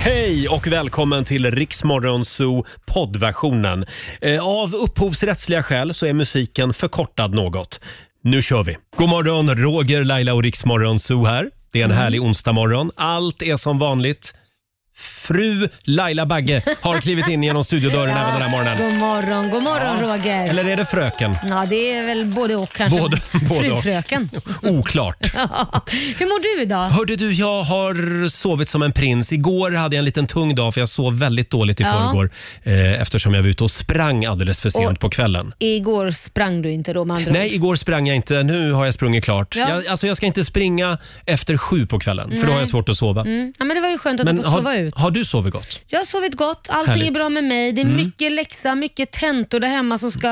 Hej och välkommen till Riksmorgon Zoo poddversionen. Eh, Av upphovsrättsliga skäl så är musiken förkortad något. Nu kör vi! God morgon, Roger, Laila och Riksmorgon Zoo här. Det är Mm. en härlig onsdagmorgon. Allt är som vanligt. Fru Laila Bagge har klivit in genom studiodörren även den här morgonen. God morgon, god morgon Roger. Eller är det fröken? Ja, det är väl både och kanske. Både- både och. Frufröken. Oklart. Hur mår du idag? Hörde du, jag har sovit som en prins. Igår hade jag en liten tung dag för jag sov väldigt dåligt i Ja. förrgår eh, eftersom jag var ute och sprang alldeles för sent Och- på kvällen. Igår sprang du inte då med andra Nej, ord. igår sprang jag inte. Nu har jag sprungit klart. Ja. Jag, alltså, jag ska inte springa efter sju på kvällen för då har jag svårt att sova. Mm. Ja, men det var ju skönt att du fått sova ut. har, har du sovit gott? Jag har sovit gott, allting Härligt. Mm. är bra med mig. Det är mycket läxa, mycket tentor där hemma som ska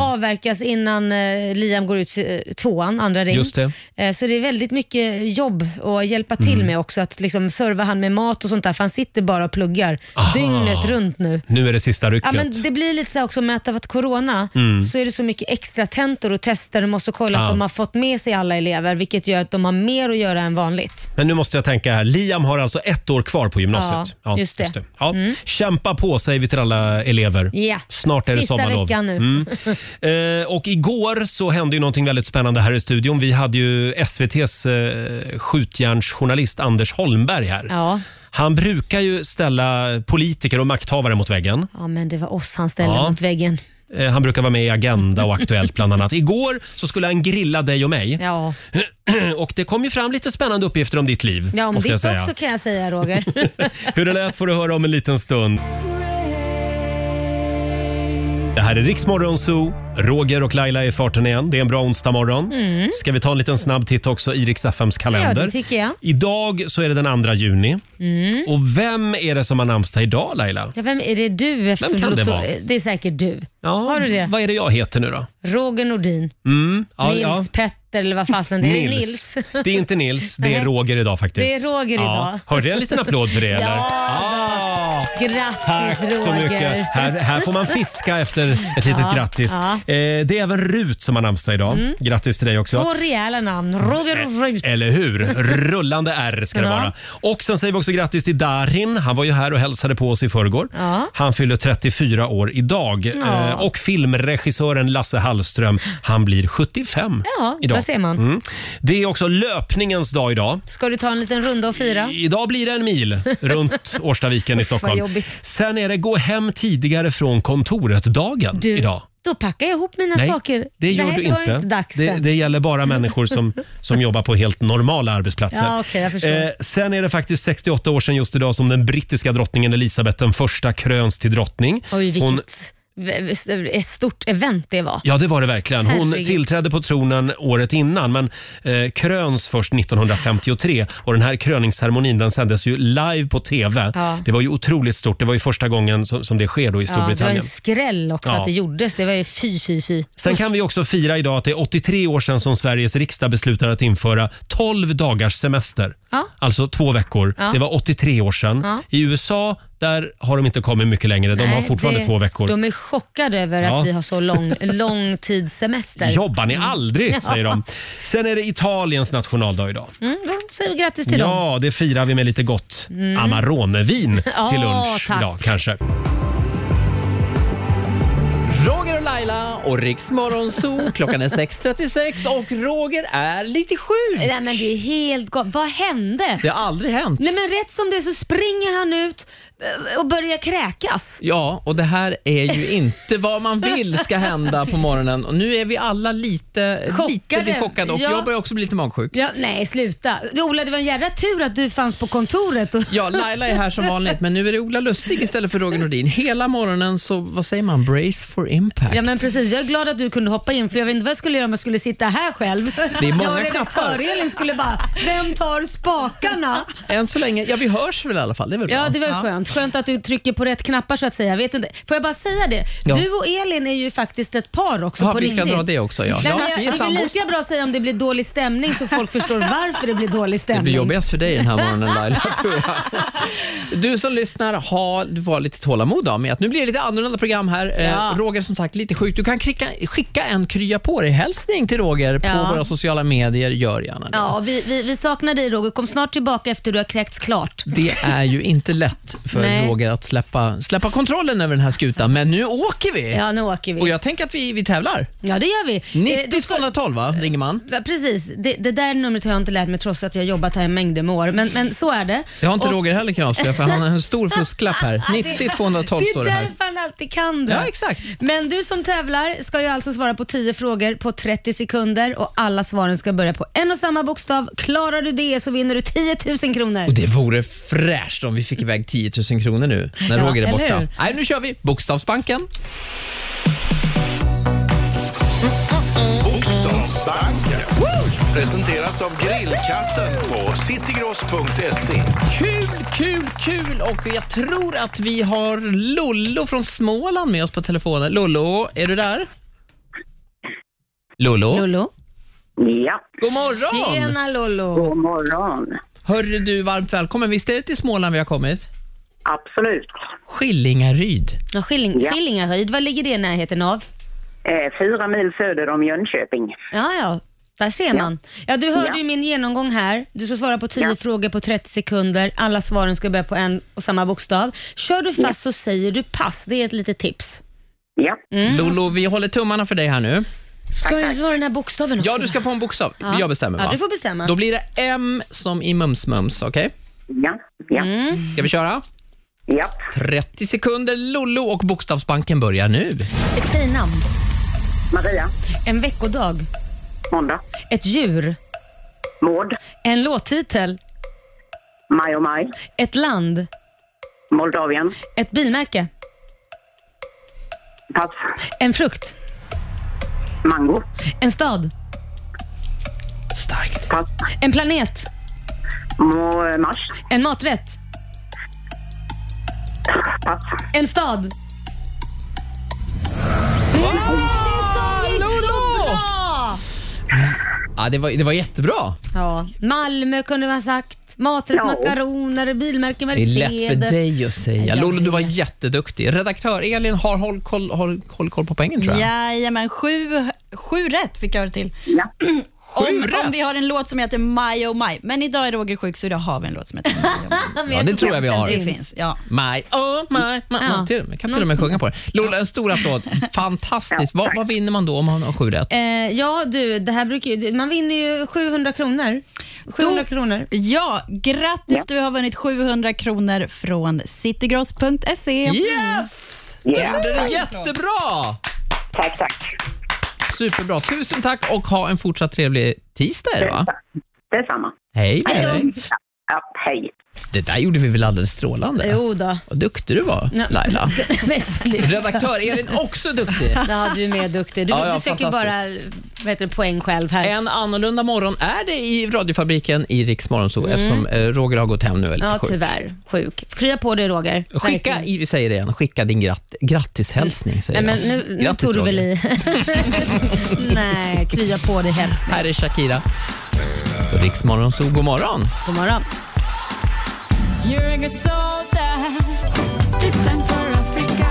avverkas innan eh, Liam går ut eh, tvåan, andra ring. Just det. Eh, Så det är väldigt mycket jobb att hjälpa till Mm. med också. Att liksom serva han med mat och sånt där, för han sitter bara och pluggar Aha. dygnet runt nu. Nu är det sista rycket. Ja, men det blir lite så här också med att det har varit corona så är det så mycket extra tentor och tester och måste kolla Mm. Ja. att de har fått med sig alla elever vilket gör att de har mer att göra än vanligt. Men nu måste jag tänka här. Liam har alltså ett år kvar på gymnasiet. Ja, just det. Mm. Ja. Kämpa på säger vi till alla elever. Ja. Snart är det Sista sommarlov. veckan nu. Eh, och igår så hände ju någonting väldigt spännande här i studion. Vi hade ju SVTs eh, skjutjärnsjournalist Anders Holmberg här. Ja. Han brukar ju ställa politiker och makthavare mot väggen. ja, men det var oss han ställde Ja. mot väggen. Eh, Han brukar vara med i Agenda och Aktuellt bland annat. Igår så skulle han grilla dig och mig Ja, och det kom ju fram lite spännande uppgifter om ditt liv. ja om måste jag ditt säga. också kan jag säga Roger. Hur det lät får du höra om en liten stund. Det här är Riksmorgon Zoo. Roger och Laila är i farten igen. Det är en bra onsdag morgon. Ska vi ta en liten snabb titt också i Rix FMs kalender? Mm. Ja, det tycker jag. Mm. Idag så är det den 2 juni. Och vem är det som har namnsdag idag Laila? Ja, vem är det du? Eftersom Vem kan du det tog- vara? Det är säkert du. Ja, Har du det? Vad är det jag heter nu då? Mm, Roger Nordin, Ja, Nils ja. Petter eller vad fasen det är. Nils. Nils. Det är inte Nils, det är Nej. Roger idag faktiskt. Det är Roger idag. Hörde jag en liten applåd för det eller? Ah, Grattis Tack Roger. så mycket. Här, här får man fiska efter ett litet Ja, grattis. ja. Mm. Eh, det är även Rut som har namnsdag idag. Grattis till dig också. Två rejäla namn. Roger Rut. Eller hur? Rullande R ska det Ja. vara. Och sen säger vi också grattis till Darin. Han var ju här och hälsade på oss i förrgår. Ja. Han fyller 34 år idag. Ja. Eh, och filmregissören Lasse Hallström, han blir 75 Ja, idag. där ser man. Mm. Det är också löpningens dag idag. Ska du ta en liten runda och fira? Idag blir det en mil runt Årstaviken i Uff, vad Stockholm. jobbigt. Sen är det gå hem tidigare från kontoret-dagen Du, idag. Då packar jag ihop mina saker. det gör Nej, du det var inte. inte dags det, än. det gäller bara människor som, som jobbar på helt normala arbetsplatser. Eh, Ja, okej, jag förstår. sen är det faktiskt 68 år sedan just idag som den brittiska drottningen Elisabeth den första kröns till drottning. Oj, vilket Hon- v- v- ett stort event det var. Ja, det var det verkligen. Hon Herregud. tillträdde på tronen året innan, men eh, kröns först 1953. Och den här kröningsceremonin den sändes ju live på TV. Ja. Det var ju otroligt stort. Det var ju första gången som, som det sker då i Ja, det var Storbritannien. en skräll också Ja. att det gjordes. Det var ju fy, fy, fy. Sen kan vi också fira idag att det är 83 år sedan som Sveriges riksdag beslutade att införa 12 dagars semester. Ja. Alltså två veckor. Ja. Det var 83 år sedan. Ja. I USA där har de inte kommit mycket längre. De har Nej, fortfarande det- två veckor. De är chockade över Ja. att vi har så lång, lång tidssemester. Jobbar ni aldrig, Mm. Ja. säger de. Sen är det Italiens nationaldag idag. Mm, då säger vi grattis till dem. Mm. Ja, det firar vi med lite gott Amaronevin Ja, till lunch tack. idag kanske. Roger och Laila och Riks Morgonzoo. Klockan är 6.36 och Roger är lite sjuk. Nej, men det är helt galet. Vad hände? Det har aldrig hänt. Nej, men rätt som det är så springer han ut eh, och börjar kräkas. Ja, och det här är ju inte vad man vill ska hända på morgonen. Och nu är vi alla lite Chockade. lite chockade och Ja. jag börjar också bli lite magsjuk. Ja, nej, sluta. Ola, det var en jävla tur att du fanns på kontoret. Och Ja, Laila är här som vanligt, men nu är det Ola Lustig istället för Roger Nordin. Hela morgonen så, vad säger man, brace for impact. Ja men precis, jag är glad att du kunde hoppa in för jag vet inte vad jag skulle göra om jag skulle sitta här själv. Det är många jag och redaktör knappar. Elin skulle bara, vem tar spakarna? Än så länge, ja vi hörs väl i alla fall, det är väl bra? Ja det var ju skönt. skönt att du trycker på rätt knappar så att säga. Jag vet inte. Får jag bara säga det? Ja. Du och Elin är ju faktiskt ett par också Ja, på vi ska riktigt. dra det också, ja. Nej, Ja, men vi är jag, det är väl sambos. lika bra att säga om det blir dålig stämning så folk förstår varför det blir dålig stämning. Det blir jobbigast för dig den här morgonen Laila, tror jag. Du som lyssnar, ha, du får ha lite tålamod av mig. att Nu blir det lite annorlunda program här. Ja. Eh, Roger som sagt lite sjuk. Du kan skicka, skicka en krya på dig-hälsning till Roger på Ja. våra sociala medier. Gör gärna det. Ja, vi, vi, vi saknar dig Roger. Kom snart tillbaka efter du har kräkts klart. Det är ju inte lätt för Nej. Roger att släppa, släppa kontrollen över den här skutan, men nu åker vi! Ja, nu åker vi. Och jag tänker att vi, vi tävlar. Ja, det gör vi. Eh, 90 du ska- 212 va, ringer man? Ja, Precis, det, det där numret har jag inte lärt mig trots att jag har jobbat här i mängder med år. Men, men så är det. Det har inte Och- Roger heller kan jag avslöja, för han har en stor fusklapp här. 90 212 Det är står det här. därför han alltid kan det. Ja, exakt. Men du som tävlar ska ju alltså svara på 10 frågor på 30 sekunder och alla svaren ska börja på en och samma bokstav. Klarar du det så vinner du 10 000 kronor. Och det vore fräscht om vi fick iväg 10 000 kronor nu när Ja, Roger är eller borta. hur? Nej, nu kör vi! Bokstavsbanken. Bokstavsbanken presenteras av Grillkassen på citygross.se. Kul, kul, kul! Och jag tror att vi har Lollo från Småland med oss på telefonen. Lollo, är du där? Lollo? Lollo. Ja, God morgon! Tjena Lollo. god morgon. Hörru du, varmt välkommen. Visst är det till Småland vi har kommit? Absolut. Skillingaryd. Ja, Skilling, Ja. Skillingaryd, vad ligger det i närheten av? Eh, fyra mil söder om Jönköping. Ja, ja. Där ser man. Ja, du hörde Ja. ju min genomgång här. Du ska svara på 10 Ja. frågor på 30 sekunder. Alla svaren ska börja på en och samma bokstav. Kör du fast så säger du pass. Det är ett litet tips. Ja, Lollo, vi håller tummarna för dig här nu. Mm. Ska du svara den här bokstaven också? Ja, du ska få en bokstav. Ja. Jag bestämmer va? Ja, du får bestämma. Då blir det M som i mums-mums, okej? ja, ja, Mm. Ska vi köra? ja. 30 sekunder, Lollo och Bokstavsbanken börjar nu. Ett tjejnamn. Maria, En veckodag. måndag. Ett djur. Maud, En låttitel. Maj och Maj. Ett land. Moldavien, Ett bilmärke. pass. En frukt. Mango, En stad. Starkt. pass. En planet. Mo- eh, mars, En maträtt. pass. En stad. Lollo! Bra! Ja, det var, det var jättebra. Ja, Malmö kunde man ha sagt. Maträtt, Ja. makaroner, bilmärke Det är Mercedes. lätt för dig att säga. Jag Lollo, du var vet. jätteduktig. Redaktör Elin har håll koll, håll, håll koll på poängen tror jag. Jajamän, sju, sju rätt fick jag det till. Ja, Sju Om, rätt? om vi har en låt som heter Maj och Maj. Men idag är Roger sjuk så idag har vi en låt som heter Oh Maj och Maj. Men Ja, det tror jag vi att har. Det finns, ja. My, oh my, Ja. my. Man till, man kan till och med sjunga på det. Lola, en stor applåd. Fantastiskt. Vad, vad vinner man då om man har sju rätt? Eh, ja du, det här brukar ju, man vinner ju 700 kronor. 700 Då- kronor. Ja, grattis du har vunnit 700 kronor från citygross.se. Yes! ja. Det är jättebra! Tack, tack. Superbra. Tusen tack och ha en fortsatt trevlig tisdag. är det, Va? Detsamma. Hej med dig. Ja, hej. Det där gjorde vi väl alldeles strålande? Jo då. Vad duktig du var, Nej, Laila. ska- Men sluta. Redaktör Elin, också duktig. Ja, du är mer duktig. Du, Ja, ja, du söker bara vad heter det, poäng själv här. En annorlunda morgon är det i radiofabriken i Riks Morgonzoo eftersom eh, Roger har gått hem nu och är lite Mm. Ja, sjuk. tyvärr. Sjuk. Krya på dig Roger. Skicka, Verkligen. i- vi säger det igen, skicka din gratt, grattishälsning. Säger Nej, men jag. nu, nu Grattis, tog du väl Roger. i? Nej, krya på dig helst. Här är Shakira. Riks Morgonzoo, god morgon. God morgon. You're a good soldier. This time for Africa.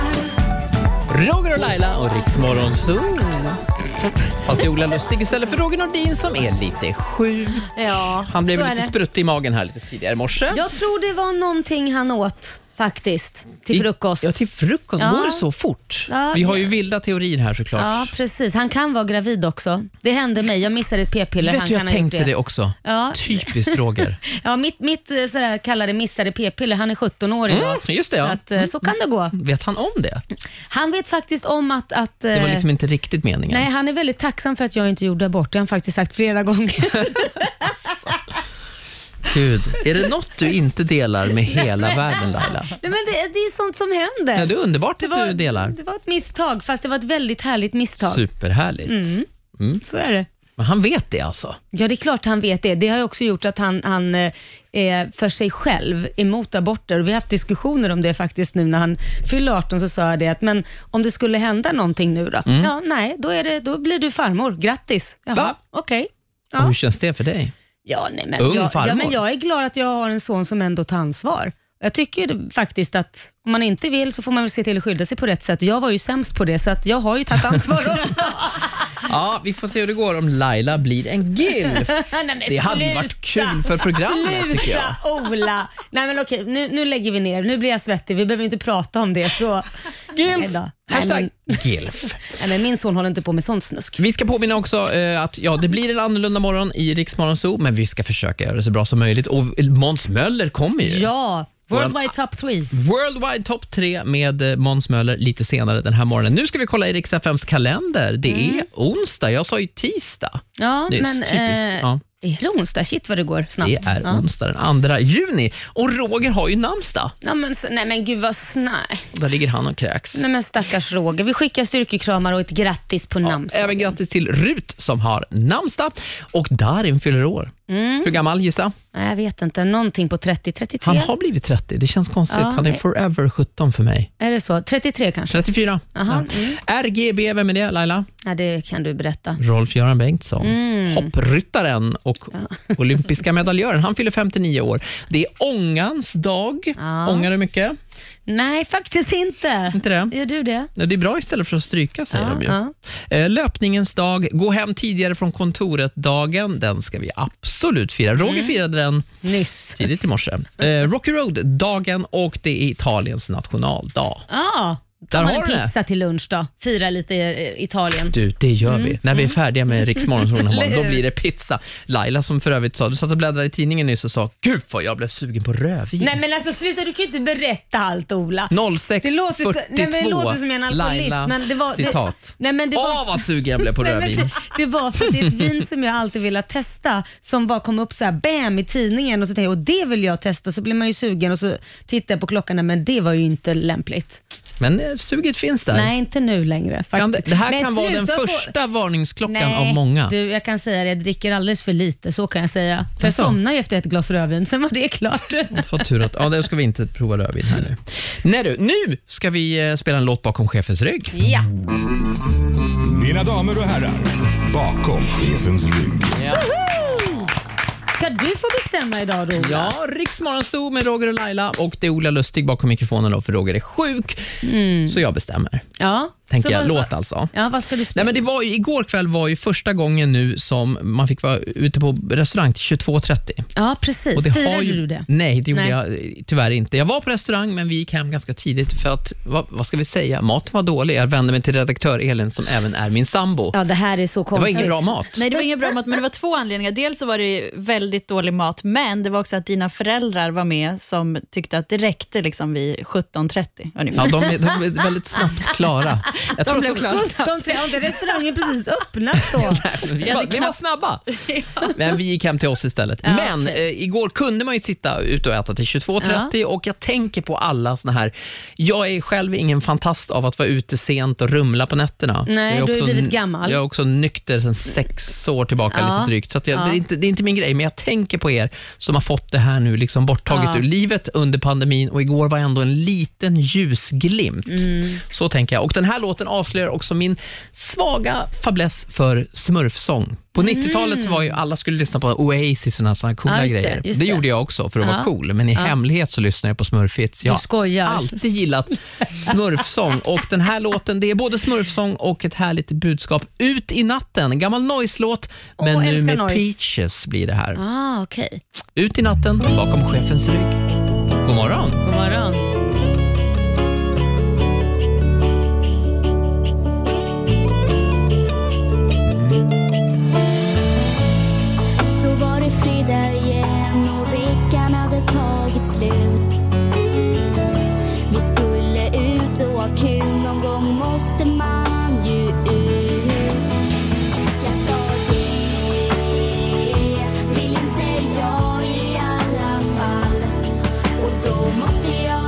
Roger och Laila och Riks Morgonzoo. Fast det är Ola Lustig istället för Roger Nordin som är lite sjuk. Ja, Han blev så lite är det. spruttig i magen här lite tidigare i morse. Jag tror det var någonting han åt faktiskt till I- frukost. Ja, till frukost. Ja. Går det så fort? Ja, Vi har det- ju vilda teorier här såklart. Ja, precis. Han kan vara gravid också. Det hände mig. Jag missade ett p-piller. Vet han du, jag kan ha gjort tänkte det. också. Typ Ja. Typiskt Roger. Ja, mitt, mitt eh, sådär kallade missade p-piller, han är 17 år idag. Mm, just det, Så, ja. att, eh, så kan det gå. Vet han om det? Han vet faktiskt om att... att eh, Det var liksom inte riktigt meningen. Nej, han är väldigt tacksam för att jag inte gjorde abort. Det har han faktiskt sagt flera gånger. Gud. Är det något du inte delar med hela världen Laila? Nej, men det, det är sånt som händer. Ja, det är underbart att du delar. det var ett misstag, fast det var ett väldigt härligt misstag. Superhärligt. Mm. Så är det. Mm. Men han vet det alltså? Ja, det är klart han vet det. Det har ju också gjort att han, han eh, är för sig själv emot aborter. Och vi har haft diskussioner om det faktiskt nu när han fyllde 18 så sa jag det att men om det skulle hända någonting nu då? Ja, nej, då, är det, då blir du farmor. Grattis. Jaha, Mm. Va? okej. Och Ja. hur känns det för dig? Ja, nej, men Ung jag, ja, farmor. men jag är glad att jag har en son som ändå tar ansvar. Jag tycker faktiskt att om man inte vill så får man väl se till att skydda sig på rätt sätt. Jag var ju sämst på det så att jag har ju tagit ansvar också. Ja, vi får se hur det går om Laila blir en gilf. Nej, men Det hade ju varit kul för programmet, Sluta, tycker jag. Ola! Nej men okej, nu, nu lägger vi ner. Nu blir jag svettig. Vi behöver inte prata om det. Så. Nej Gilf! då. Nej, Hashtag men- gilf. Nej, men min son håller inte på med sånt snusk. Vi ska påminna också eh, att ja, det blir en annorlunda morgon i Riksmorgon Zoo, men vi ska försöka göra det så bra som möjligt. Och Måns Möller kommer ju. Ja, Worldwide Top 3. Worldwide Top 3 med eh, Måns Möller lite senare den här morgonen. Nu ska vi kolla i Rix FMs kalender. Det är onsdag. Jag sa ju tisdag. Mm. Ja, Det är men... typiskt, eh, ja. Är det onsdag? Shit vad det går snabbt. Det är ja. onsdag den 2 juni. Och Roger har ju namnsdag. Ja, men, s- nej men gud vad snabbt. Och Där ligger han och kräks. Nej men stackars Roger. Vi skickar styrkekramar och ett grattis på namnsdagen. Även grattis till Rut som har namnsdag. Och Darin fyller år. Mm. Hur gammal gissa? Nej, jag vet inte. Någonting på 30, 33? Han har blivit 30. Det känns konstigt. Ja, han är nej. forever 17 för mig. Är det så? 33 kanske? 34. Aha, mm. Ja. RGB, vem är det Laila? Ja, det kan du berätta. Rolf-Göran Bengtsson, Mm. hoppryttaren och olympiska medaljören. Han fyller 59 år. Det är ångans dag. Ja. Ångar du mycket? Nej, faktiskt inte. Inte det? Gör du det? Nej, Det är bra istället för att stryka, säger Ja, de ju. ja. Eh, Löpningens dag, gå hem tidigare från kontoret-dagen, den ska vi absolut fira. Roger firade den Mm. Nyss. tidigt i morse. Eh, Rocky Road-dagen och det är Italiens nationaldag. Ja, Där tar man en har du det. pizza till lunch då. Fira lite eh, Italien. Du, det gör Mm. vi. När vi är färdiga med Riksmorgon då blir det pizza. Laila som för övrigt sa, du satt och bläddrade i tidningen nyss och sa, gud vad jag blev sugen på rödvin. Nej men alltså sluta, du kan ju inte berätta allt Ola. 0642 Det låter, så, nej, men det låter som en alkoholist. Laila, men det var, citat. Det, nej, men det var, Åh, vad sugen jag blev på Nej, men rödvin. det, det var för att det är ett vin som jag alltid velat testa som bara kom upp så här bam i tidningen och så tänkte jag och det vill jag testa så blir man ju sugen och så tittar jag på klockan nej, men det var ju inte lämpligt. Men eh, suget finns där. Nej inte nu längre faktiskt. Kan det, det här Men kan vara den sluta få- första varningsklockan av många. Du, jag kan säga det, jag dricker alldeles för lite, så kan jag säga. För jag Jaså? somnade ju efter ett glas rödvin, sen var det klart. Får tur att, ja, där ska vi inte prova rödvin här nu. Nej du, nu ska vi eh, spela en låt bakom chefens rygg. ja. Mina damer och herrar, bakom chefens rygg. Ska du få bestämma idag då? Ola? Ja, Riksmorgonzoo med Roger och Laila och det är Ola Lustig bakom mikrofonen då, för Roger är sjuk. Så jag bestämmer, Mm. ja. tänker Så jag. vad- Låt alltså. Ja, vad ska du spela? Nej, men det var ju, igår kväll var ju första gången nu som man fick vara ute på restaurang till 22.30. Ja, precis. Och det Firade har ju- du det? Nej, det gjorde Nej. jag eh, tyvärr inte. Jag var på restaurang, men vi gick hem ganska tidigt för att, vad, vad ska vi säga, maten var dålig. Jag vände mig till redaktör Elin som även är min sambo. Ja, det här är så det var konstigt. ingen bra mat. Nej, det var ingen bra mat, men det var två anledningar. Dels så var det väldigt dålig mat, men det var också att dina föräldrar var med som tyckte att det räckte liksom vid 17.30 ungefär. Ja, de, är, de är väldigt snabbt klara. Jag tror att de klara. De tre, har inte restaurangen precis öppnat då? Vi var, vi var snabba. Men vi gick hem till oss istället. Men eh, igår kunde man ju sitta ute och äta till 22.30 och jag tänker på alla såna här... Jag är själv ingen fantast av att vara ute sent och rumla på nätterna. Nej, jag är du har ju också- blivit gammal. Jag är också nykter sedan sex år tillbaka Ja. lite drygt. Så att jag, Ja. det, är inte, det är inte min grej, men jag tänker på er som har fått det här nu liksom borttaget Ja. ur livet under pandemin och igår var ändå en liten ljusglimt. Mm. Så tänker jag. Och Den här låten avslöjar också min svaga fäbless för smurfsång. På 90-talet så var ju alla skulle lyssna på Oasis och såna här coola Mm. Ja, just det, grejer. Det, just det. gjorde jag också för att Ja. vara cool, men i hemlighet så lyssnade jag på smurfhits. Jag har skojar. alltid gillat smurfsång och den här låten, det är både smurfsång och ett härligt budskap. Ut i natten, en gammal noise-låt, men Åh, nu älskar med noise. Peaches blir det här. Ah, okej. Ut i natten, bakom chefens rygg. God morgon! God morgon. Så var det fredag igen och veckan hade tagit slut. Vi skulle ut och ha kul, någon gång måste man ju ut. Jag sa det, vill inte jag i alla fall. Och då måste jag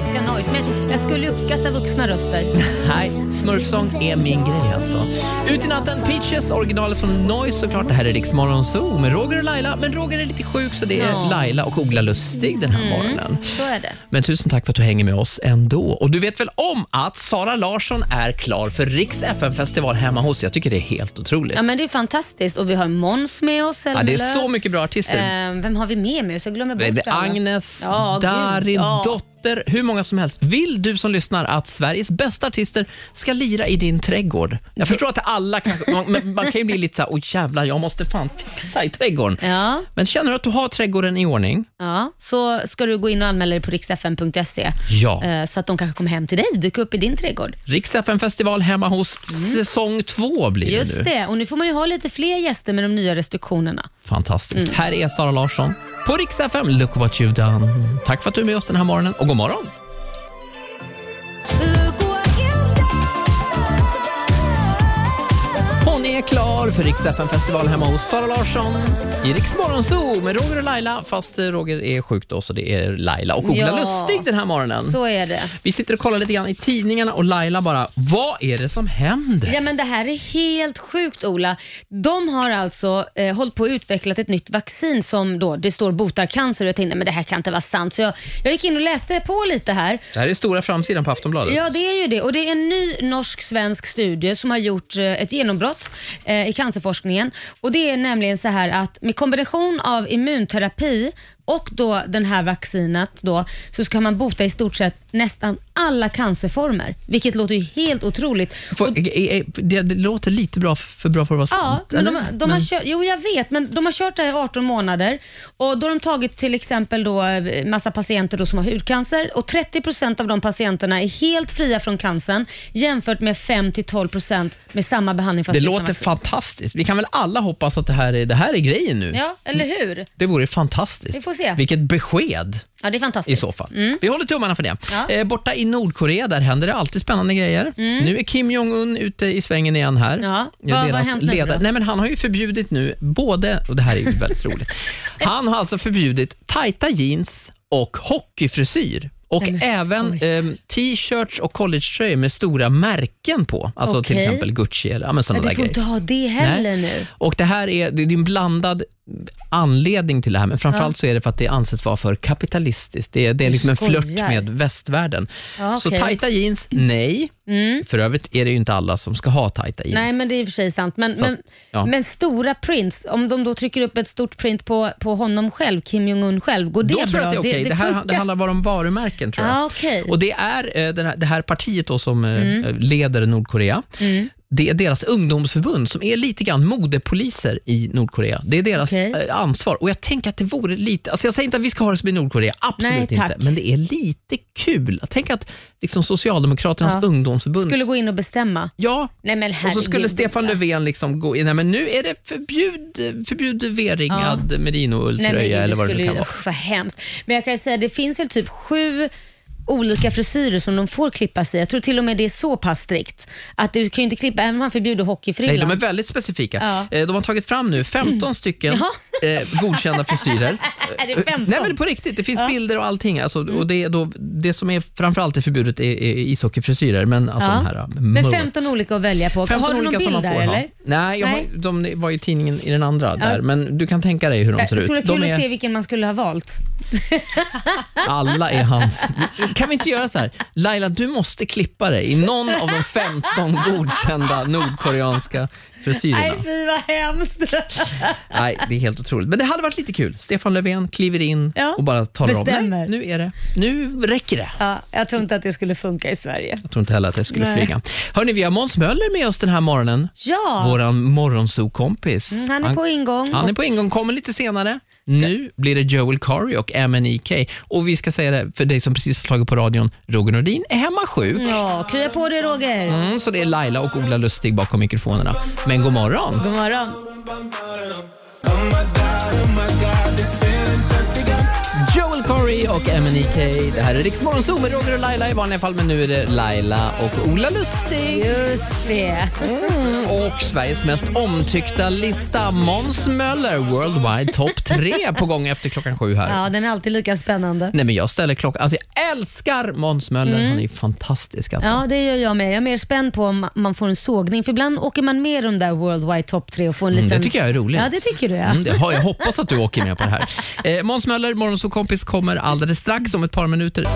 skojs. Men jag skulle ju uppskatta vuxna röster. Nej, Smurfsång är min grej alltså. Ut i natten, Peaches, originalet från Noise såklart. Det här är Rix Morgon Zoo med Roger och Laila. Men Roger är lite sjuk så det är Ja. Mm. Laila och Ola Lustig den här morgonen. Så är det. Men tusen tack för att du hänger med oss ändå. Och du vet väl om att Sara Larsson är klar för Riks FN-festival hemma hos dig? Jag tycker det är helt otroligt. Ja, men det är fantastiskt. Och vi har Måns med oss. Ja, det är Zelmerlöw. så mycket bra artister. Ehm, vem har vi med mig? Så jag glömmer Det bort är alla. Agnes, Ja, gud, Darin, ja. Dotter, hur många som helst. Vill du som lyssnar att Sveriges bästa artister ska lira i din trädgård? Jag förstår att alla kanske, man, men man kan ju bli lite så här, åh jävlar, jag måste fan fixa i trädgården. Ja. Men känner du att du har trädgården i ordning? Ja, så ska du gå in och anmäla dig på riksfn.se Ja. eh, så att de kanske kommer hem till dig, dyker upp i din trädgård. Riks FN-festival hemma hos säsong två blir det nu. Mm. Just det, och nu får man ju ha lite fler gäster med de nya restriktionerna. Fantastiskt. Mm. Här är Sara Larsson på Rix FM. Look what you've done. Tack för att du är med oss den här morgonen och god morgon. Look what you've done. Hon är klar för Rix FM festival hemma hos Sara Larsson i Rix Morgonzoo med Roger och Laila. Fast eh, Roger är sjuk då så det är Laila och Ola Ja. Lustig den här morgonen. Så är det. Vi sitter och kollar lite grann i tidningarna och Laila bara, vad är det som händer? Ja men det här är helt sjukt Ola. De har alltså eh, hållit på och utvecklat ett nytt vaccin som då, det står botar cancer och jag tänkte men det här kan inte vara sant. Så jag, jag gick in och läste på lite här Det här är stora framsidan på Aftonbladet. Ja, det är ju det. Och det är en ny norsk-svensk studie som har gjort eh, ett genombrott eh, i cancerforskningen. Och Det är nämligen så här att med kombination av immunterapi och då den här vaccinet då, så ska man bota i stort sett nästan alla cancerformer, vilket låter ju helt otroligt. Får- eh, eh, det, det låter lite bra för bra för att vara sant. Ja, men de, eller? de har kört, jo jag vet, men de har kört det här i 18 månader och då har de tagit till exempel då eh, massa patienter då som har hudcancer och 30% av de patienterna är helt fria från cancern jämfört med 5-12% med samma behandling. fast det utan låter vaccin. fantastiskt. Vi kan väl alla hoppas att det här är, det här är grejen nu. Ja, eller hur? Det vore fantastiskt. Vi får se. Vilket besked. Ja, det är i fantastiskt. Mm. så fall. Vi håller tummarna för det. Ja. Mm. Eh, borta i Nordkorea där händer det alltid spännande grejer. Nu är Kim Jong-Un ute i svängen igen här. Ja. Vad- vad har hänt nu då? Nej, men Han har ju förbjudit nu både, och det här är ju väldigt roligt, han har alltså förbjudit tajta jeans och hockeyfrisyr. Och Nej, men även skoj. ehm, t-shirts och collegetröjor med stora märken på. Alltså till Okej. exempel Gucci eller ja, men Ja, sådana du där får grejer. inte ha det heller nu. Och det här är, det är en blandad anledning till det här, men framförallt så är det för att det anses vara för kapitalistiskt. Det är, det är Du liksom en flört skojar. med västvärlden. Ja, Så okej. Mm. tajta jeans, nej. För övrigt är det ju inte alla som ska ha tajta jeans. Nej, men det är i och för sig sant. Men, Så att, men, ja. men stora prints, om de då trycker upp ett stort print på, på honom själv, Kim Jong-Un själv, går det Då tror bra? jag att det är okej. Det, här, det funkar. handlar bara om varumärken tror jag. Ah, okej. Mm. Och det är eh, den här, det här partiet då som eh, leder Nordkorea. Det är deras ungdomsförbund som är lite grann modepoliser i Nordkorea. Det är deras Okej. eh, ansvar. Och jag tänker att det vore lite, alltså jag säger inte att vi ska ha det som i Nordkorea, absolut Nej, tack. inte. Men det är lite kul. Tänk att liksom Socialdemokraternas Ja. ungdomsförbund Skulle gå in och bestämma. Ja, Nej, men och så herregud, skulle Stefan Ola. Löfven liksom gå in. Nej, men nu är det förbjud, förbjud V-ringad Nej, men merino-ulltröja gud, eller vad det skulle nu kan ju- vara. Usch, vad hemskt. Men jag kan ju säga det finns väl typ sju olika frisyrer som de får klippa sig Jag tror till och med det är så pass strikt att du kan ju inte klippa, även om man förbjuder hockeyfrillan. Nej, de är väldigt specifika. Ja. Eh, De har tagit fram nu 15 stycken Jaha. eh, godkända frisyrer. Är det Mm. 15? Nej men på riktigt, det finns bilder och allting. Alltså, och det, är då, det som är framförallt är förbjudet är, är ishockeyfrisyrer, men alltså Ja. de här... eh, Men mullet. 15 olika att välja på. 15 Har du någon olika som bild man där får ha. eller? Nej, jag Nej. Har, de var i tidningen i den andra där, men du kan tänka dig hur de Det ser ut. skulle vara de kul att se vilken man skulle ha valt. Alla är hans. Kan vi inte göra så här? Laila, du måste klippa dig i någon av de 15 godkända nordkoreanska frisyrerna. Nej fy vad hemskt. Nej, det är helt otroligt. Men det hade varit lite kul. Stefan Löfven kliver in Ja, och bara talar om. Nej, bestämmer. nu är det. Nu räcker det. ja, jag tror inte att det skulle funka i Sverige. Jag tror inte heller att det skulle Nej. flyga. Hörni, vi har Måns Möller med oss den här morgonen. Ja, Våran morgonsokompis. Mm, han är på ingång. Han är på ingång, kommer lite senare. Nu blir det Joel Curry och MNEK. Och vi ska säga det för dig som precis har slagit på radion, Roger Nordin är hemma sjuk. ja krya på dig Roger. Mm, så det är Laila och Ola Lustig bakom mikrofonerna. Men god morgon! God morgon. Oh my god, oh my god, this feeling's just begun. Joel Corey och MNEK. Det här är Riksmorgon Zoo med Roger och Laila i vanliga fall, men nu är det Laila och Ola Lustig. Just det. Mm, och Sveriges mest omtyckta lista, Måns Möller, Worldwide Top 3 på gång efter klockan sju här. Ja, den är alltid lika spännande. Nej men jag ställer klockan, alltså jag älskar Måns Möller, han är ju fantastisk alltså. Ja, det gör jag med. Jag är mer spänd på om man får en sågning, för ibland åker man med i de där Worldwide Top 3 och får en liten... Mm, det tycker jag är roligt. Ja, det tycker du ja. Mm, det har, jag hoppas att du åker med på det här. Eh, Måns Möller, Morgonsåkompis kommer alldeles strax om ett par minuter.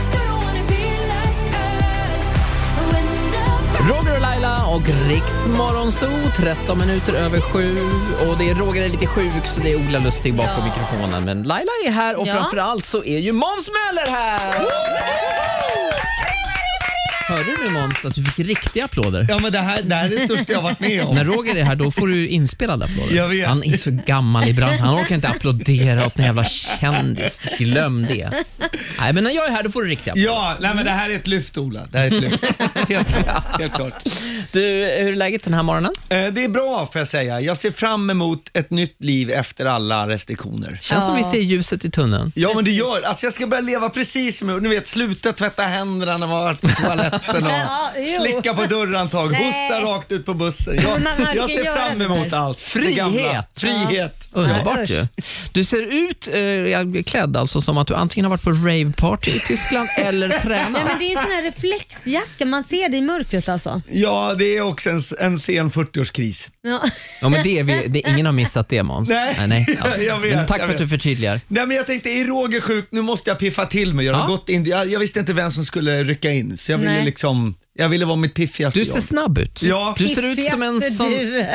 Roger och Laila och Riks Morgonzoo, 13 minuter över sju. Och det är Roger är lite sjuk så det är Ola Lustig bakom mikrofonen. Men Laila är här och Ja. framförallt så är ju Måns Möller här! Hörde du nu Måns att du fick riktiga applåder? Ja men det här, det här är det största jag varit med När om. Roger är här då får du inspelade applåder. Jag vet. Han är så gammal i branschen, han orkar inte applådera åt en jävla kändis. Glöm det. Nej men när jag är här då får du riktiga applåder. Ja, nej men det här är ett lyft Ola. Det här är ett lyft. Helt klart. Helt klart. Du, hur är läget den här morgonen? Eh, Det är bra får jag säga. Jag ser fram emot ett nytt liv efter alla restriktioner. Känns som vi ser ljuset i tunneln. Ja men det gör, alltså jag ska börja leva precis som jag Ni vet, sluta tvätta händerna när man har varit på toaletten Ja, och jo. slicka på dörrhandtag, Nej. hosta rakt ut på bussen. Jag, Men man- man jag kan ser göra fram det där. emot allt. Det gamla. Frihet. Frihet. Ja, Underbart usch. ju. Du ser ut eh, klädd alltså som att du antingen har varit på raveparty i Tyskland eller Nej, tränat. men det är ju sån här reflexjacka, man ser det i mörkret alltså. Ja, det är också en, en sen 40-årskris. Ja. Ja, men det är vi, det, ingen har missat det Måns. Nej, Ja. jag vet, men tack jag för att vet. du förtydligar. Nej men jag tänkte, är Roger sjuk? Nu måste jag piffa till mig. Jag, har Ja. gått in, jag, jag visste inte vem som skulle rycka in, så jag ville Nej. liksom, jag ville vara mitt piffigaste Du ser jag. snabb ut. Ja. Du, ser ut som en Piffigaste sån, du.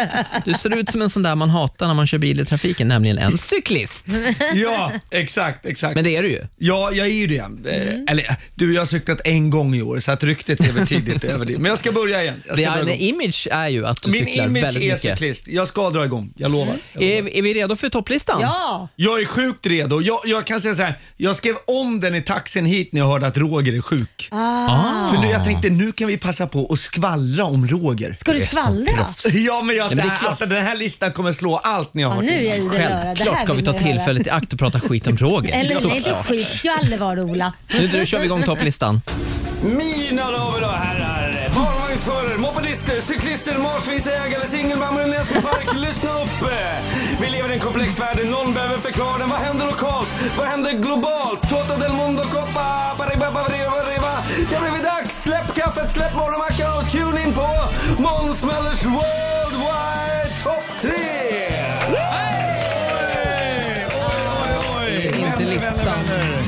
du ser ut som en sån där man hatar när man kör bil i trafiken, nämligen en cyklist. Ja, exakt, exakt. Men det är du ju. Ja, jag är ju det. Eh, Mm. Eller du, jag har cyklat en gång i år, så att ryktet är väl tidigt över det. Men jag ska börja igen. Jag Det ska är, börja nej, igång. image är ju att du Min cyklar image väldigt är mycket. Mm. cyklist. Jag ska dra igång, jag lovar. Jag, lovar. Är, är vi redo för topplistan? ja. jag är sjukt redo. Jag, jag kan säga så här, jag skrev om den i taxin hit när jag hörde att Roger är sjuk. Ah. För nu, jag tänkte, nu kan vi passa på att skvallra om Roger. Ska du skvallra? Ja, men, jag, men det är det här, klart. alltså, den här listan kommer slå allt ni har Ja, hört. nu är jag idel öra. Det Självklart här ska vi vill ta man ju höra. tillfället i akt och prata skit om Roger. Eller nej, det Såklart. skit ju aldrig vara Ola. Nu nu kör vi igång topplistan. Mina damer och herrar, barnvagnsförare, mopedister, cyklister, marsvinsägare, singelmammor i Näsby park. lyssna upp! Vi lever i en komplex värld, där någon behöver förklara den. Vad händer lokalt? Vad händer globalt? Tota del mundo coppa, pariba, pariba, pariba. Det har blivit dags! Släpp kaffet, släpp morgonmackan och tune in på Måns Möllers Worldwide Top 3! Det är inte listan.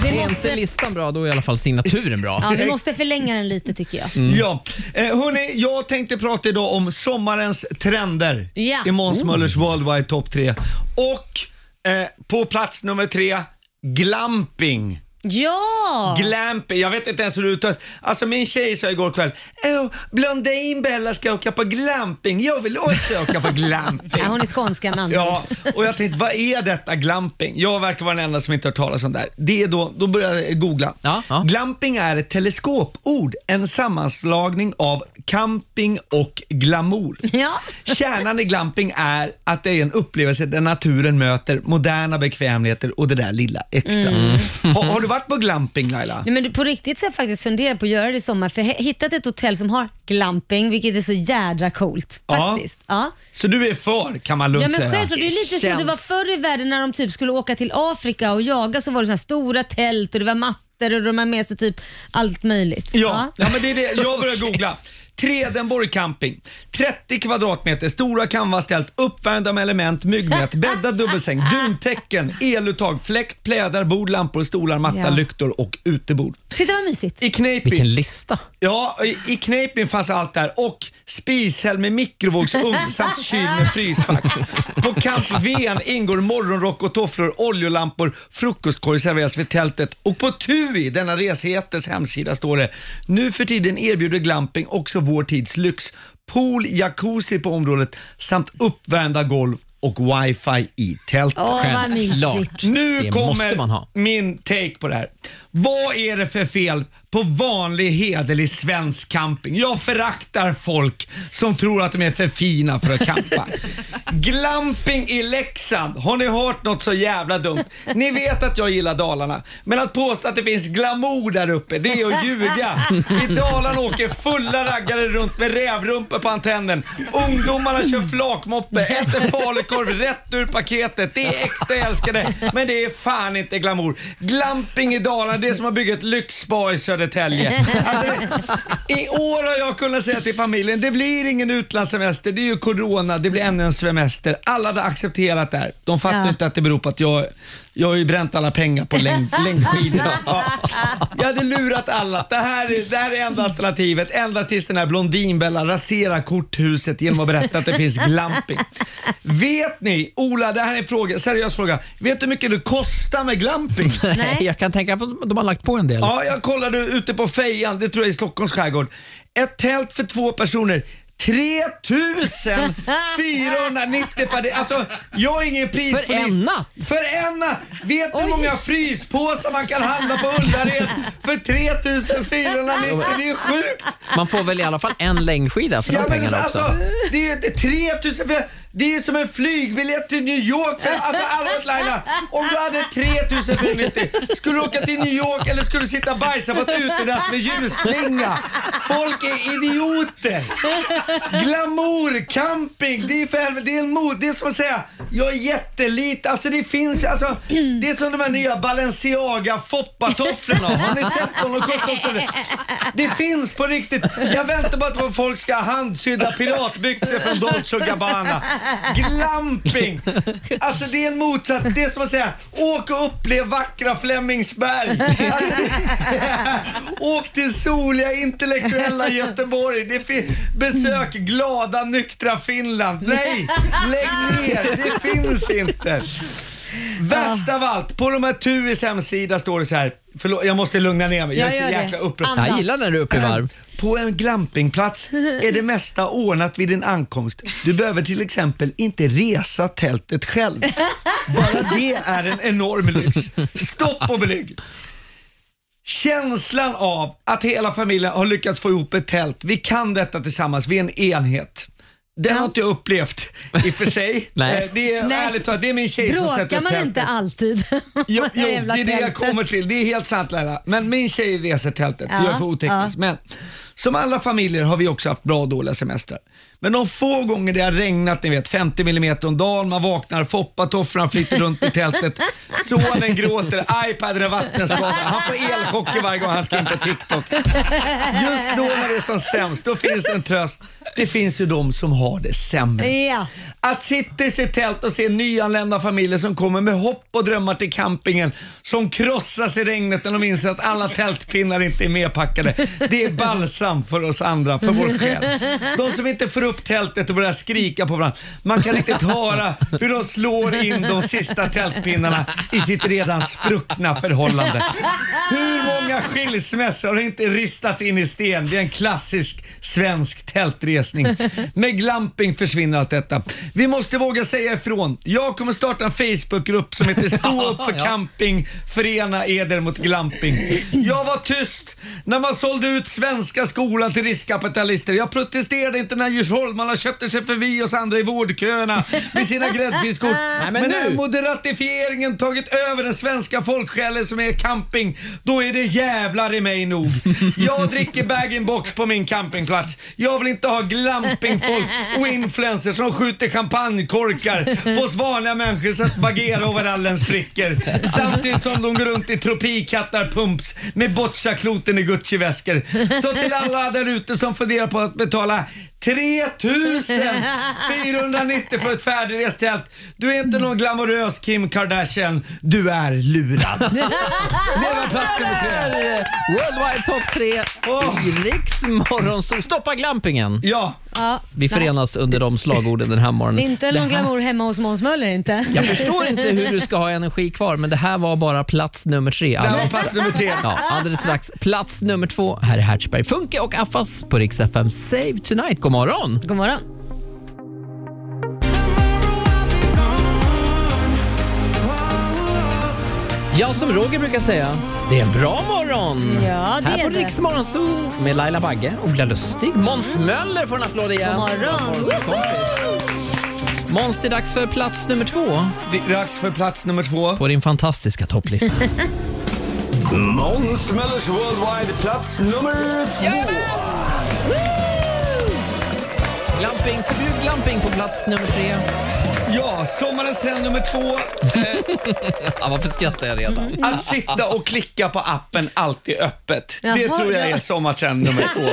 Vi Är inte måste, listan bra, då är i alla fall signaturen bra. ja, vi måste förlänga den lite tycker jag. Mm. Mm. Ja, eh, hörni, jag tänkte prata idag om sommarens trender Ja. i Måns Möllers Worldwide Top 3. Och eh, på plats nummer tre, glamping. Ja! Glamping, jag vet inte ens hur det uttalas. Alltså min tjej sa igår kväll, Åh, Blondin Bella ska åka på glamping, jag vill också åka på glamping. Ja, hon är skånska med andra Ja, ord. och jag tänkte, vad är detta glamping? Jag verkar vara den enda som inte hört talas om det här. Det är då, då började jag googla. Ja, ja. Glamping är ett teleskopord, en sammanslagning av camping och glamour. Ja. Kärnan i glamping är att det är en upplevelse där naturen möter moderna bekvämligheter och det där lilla extra. Mm. Har, har du varit på glamping Laila? Nej, men du, på riktigt så har jag faktiskt funderat på att göra det i sommar för jag har hittat ett hotell som har glamping vilket är så jädra coolt Ja. faktiskt. Ja. Så du är för kan man lugnt Ja men säga. självklart, det är lite som det var förr i världen när de typ skulle åka till Afrika och jaga så var det såna här stora tält och det var mattor och de har med sig typ allt möjligt. Ja, ja men det är det. Jag börjar googla. Tredenborg camping. 30 kvadratmeter, stora canvastält, uppvärmda med element, myggnät, bäddad dubbelsäng, duntäcken, eluttag, fläkt, plädar, bord, lampor, stolar, matta, Ja. lyktor och utebord. Titta vad mysigt. I Kneippby, Vilken lista. ja, i- i Kneippby fanns allt där och spishäll med mikrovågsugn samt kyl med frysfack. På Camp Ven ingår morgonrock och tofflor, oljelampor, frukostkorg serveras vid tältet och på TUI, denna resejättes hemsida, står det nu för tiden erbjuder glamping också vår tids lyx. Pool, jacuzzi på området samt uppvärmda golv och wifi i tältet. Åh, vad mysigt. Nu det måste kommer man ha. min take på det här. Vad är det för fel på vanlig hederlig svensk camping? Jag föraktar folk som tror att de är för fina för att campa. Glamping i Leksand, har ni hört något så jävla dumt? Ni vet att jag gillar Dalarna, men att påstå att det finns glamour där uppe, det är att ljuga. I Dalarna åker fulla raggare runt med rävrumpor på antennen. Ungdomarna kör flakmoppe, äter falukorv rätt ur paketet. Det är äkta jag älskar det, men det är fan inte glamour. Glamping i Dalarna, det är som att bygga ett lyxspa i Södertälje. Alltså, I år har jag kunnat säga till familjen, det blir ingen utlandssemester, det är ju corona, det blir ännu en semester. Alla hade accepterat det här. De fattar Ja. inte att det beror på att jag, jag har ju bränt alla pengar på längd, längdskidor. Ja. Jag hade lurat alla. Det här, är, det här är enda alternativet. Ända tills den här Blondinbella raserar korthuset genom att berätta att det finns glamping. Vet ni, Ola, det här är en fråga, seriös fråga. Vet du hur mycket det kostar med glamping? Nej. Jag kan tänka på att de har lagt på en del. Ja, jag kollade ute på Fejan, det tror jag är i Stockholms skärgård. Ett tält för två personer. 3490 per dygn. Alltså, jag är ingen prispolis. För en natt? För en natt! Vet ni hur många fryspåsar man kan handla på Ullared för 3490? Det är sjukt! Man får väl i alla fall en längdskida för de pengarna också. alltså, det är det är 3000 för, Det är som en flygbiljett till New York. För, alltså allvarligt Laila, om du hade 3000 för minuter, skulle du åka till New York eller skulle du sitta och bajsa på ett utedass med ljusslinga? Folk är idioter! Glamour, camping, det är för helvete, det är en mod. Det är som att säga, jag är jättelit. Alltså det finns, alltså det är som de här nya Balenciaga foppatofflorna. Har ni sett dem? De kostar också det. Det finns på riktigt. Jag väntar bara på att folk ska ha handsydda piratbyxor från Dolce Gabbana. Glamping! Alltså det är en motsats. Det är som att säga, åk och upplev vackra Flemingsberg. Alltså, det... åk till soliga intellektuella Göteborg. Det fin... Besök glada nyktra Finland. Nej, lägg ner. Det finns inte. Värst av allt, på de här Tuis hemsida står det så här. Förlåt, jag måste lugna ner mig. Jag är Jag så gör jäkla det. upprörd. Andas. Jag gillar när du är uppe i varv. På en glampingplats är det mesta ordnat vid din ankomst. Du behöver till exempel inte resa tältet själv. Bara det är en enorm lyx. Stopp och belägg! Känslan av att hela familjen har lyckats få ihop ett tält. Vi kan detta tillsammans, vi är en enhet. Den har inte jag upplevt i och för sig. Nej. Eh, Det är, Nej. ärligt talat, det är min tjej som sätter Bråkar upp man tältet. inte alltid? Jo, jo det Jävla är det jag tältet. kommer till. Det är helt sant Laila. Men min tjej reser tältet, Ja, jag är för oteknisk. Men som alla familjer har vi också haft bra och dåliga semestrar. Men de få gånger det har regnat, ni vet 50 millimeter om dagen, man vaknar, foppatofflorna flyter runt i tältet, sonen gråter, iPaden är vattenskadad, han får elchocker varje gång han ska in på TikTok. Just då när det är som sämst, då finns en tröst. Det finns ju de som har det sämre. Ja. Att sitta i sitt tält och se nyanlända familjer som kommer med hopp och drömmar till campingen, som krossas i regnet när de inser att alla tältpinnar inte är medpackade. Det är balsam för oss andra, för vår själ. De som inte får upp tältet och börjar skrika på varandra. Man kan riktigt höra hur de slår in de sista tältpinnarna i sitt redan spruckna förhållande. Hur många skilsmässor har inte ristats in i sten? Det är en klassisk svensk tältresning. Med glamping försvinner allt detta. Vi måste våga säga ifrån. Jag kommer starta en Facebookgrupp som heter Stå upp för camping, förena eder mot glamping. Jag var tyst när man sålde ut svenska skolan till riskkapitalister. Jag protesterade inte när djursholmarna köpte sig förbi oss andra i vårdköerna med sina gräddfiskor. men Men nu- nu moderatifieringen tagit över den svenska folksjälen som är camping, då är det jävlar i mig nog. Jag dricker bag-in-box på min campingplats. Jag vill inte ha glampingfolk och influencers som skjuter champagnekorkar på oss vanliga människor så att Bagheera-overallen spricker. Samtidigt som de går runt i tropikattar-pumps med bocciakloten i Gucci-väskor. Så till alla där ute som funderar på att betala 3490 för ett färdigrest tält. Du är inte någon glamorös Kim Kardashian. Du är lurad. Det var flaskan besked. Worldwide topp 3 Åh. i Riks morgonsol. Stoppa glampingen! Ja, Ja. Vi förenas under de slagorden den här Det morgonen. är inte Det någon här- glamour hemma hos Måns Möller inte. Jag förstår inte hur du ska ha energi kvar, men det här var bara plats nummer tre. det här var Alldeles- plats nummer tre. Ja, alldeles strax plats nummer två. Här är Hertzberg, Funke och Affas på Rix FM. Save tonight. God morgon! God morgon. Ja, som Roger brukar säga, det är en bra morgon! Ja, det Här är på det. Riksmorgon Zoo med Laila Bagge, Ola Lustig, Måns Möller får en applåd igen. God morgon. God kompis. Måns, det är dags för plats nummer två Det är dags för plats nummer två. på din fantastiska topplista. Måns Möllers Worldwide, plats nummer två. glamping, förbjud glamping på plats nummer tre. Ja, sommarens trend nummer två. Eh, Ja, varför skrattar jag redan? att sitta och klicka på appen alltid öppet. det Jaha, tror jag ja. är sommartrend nummer två.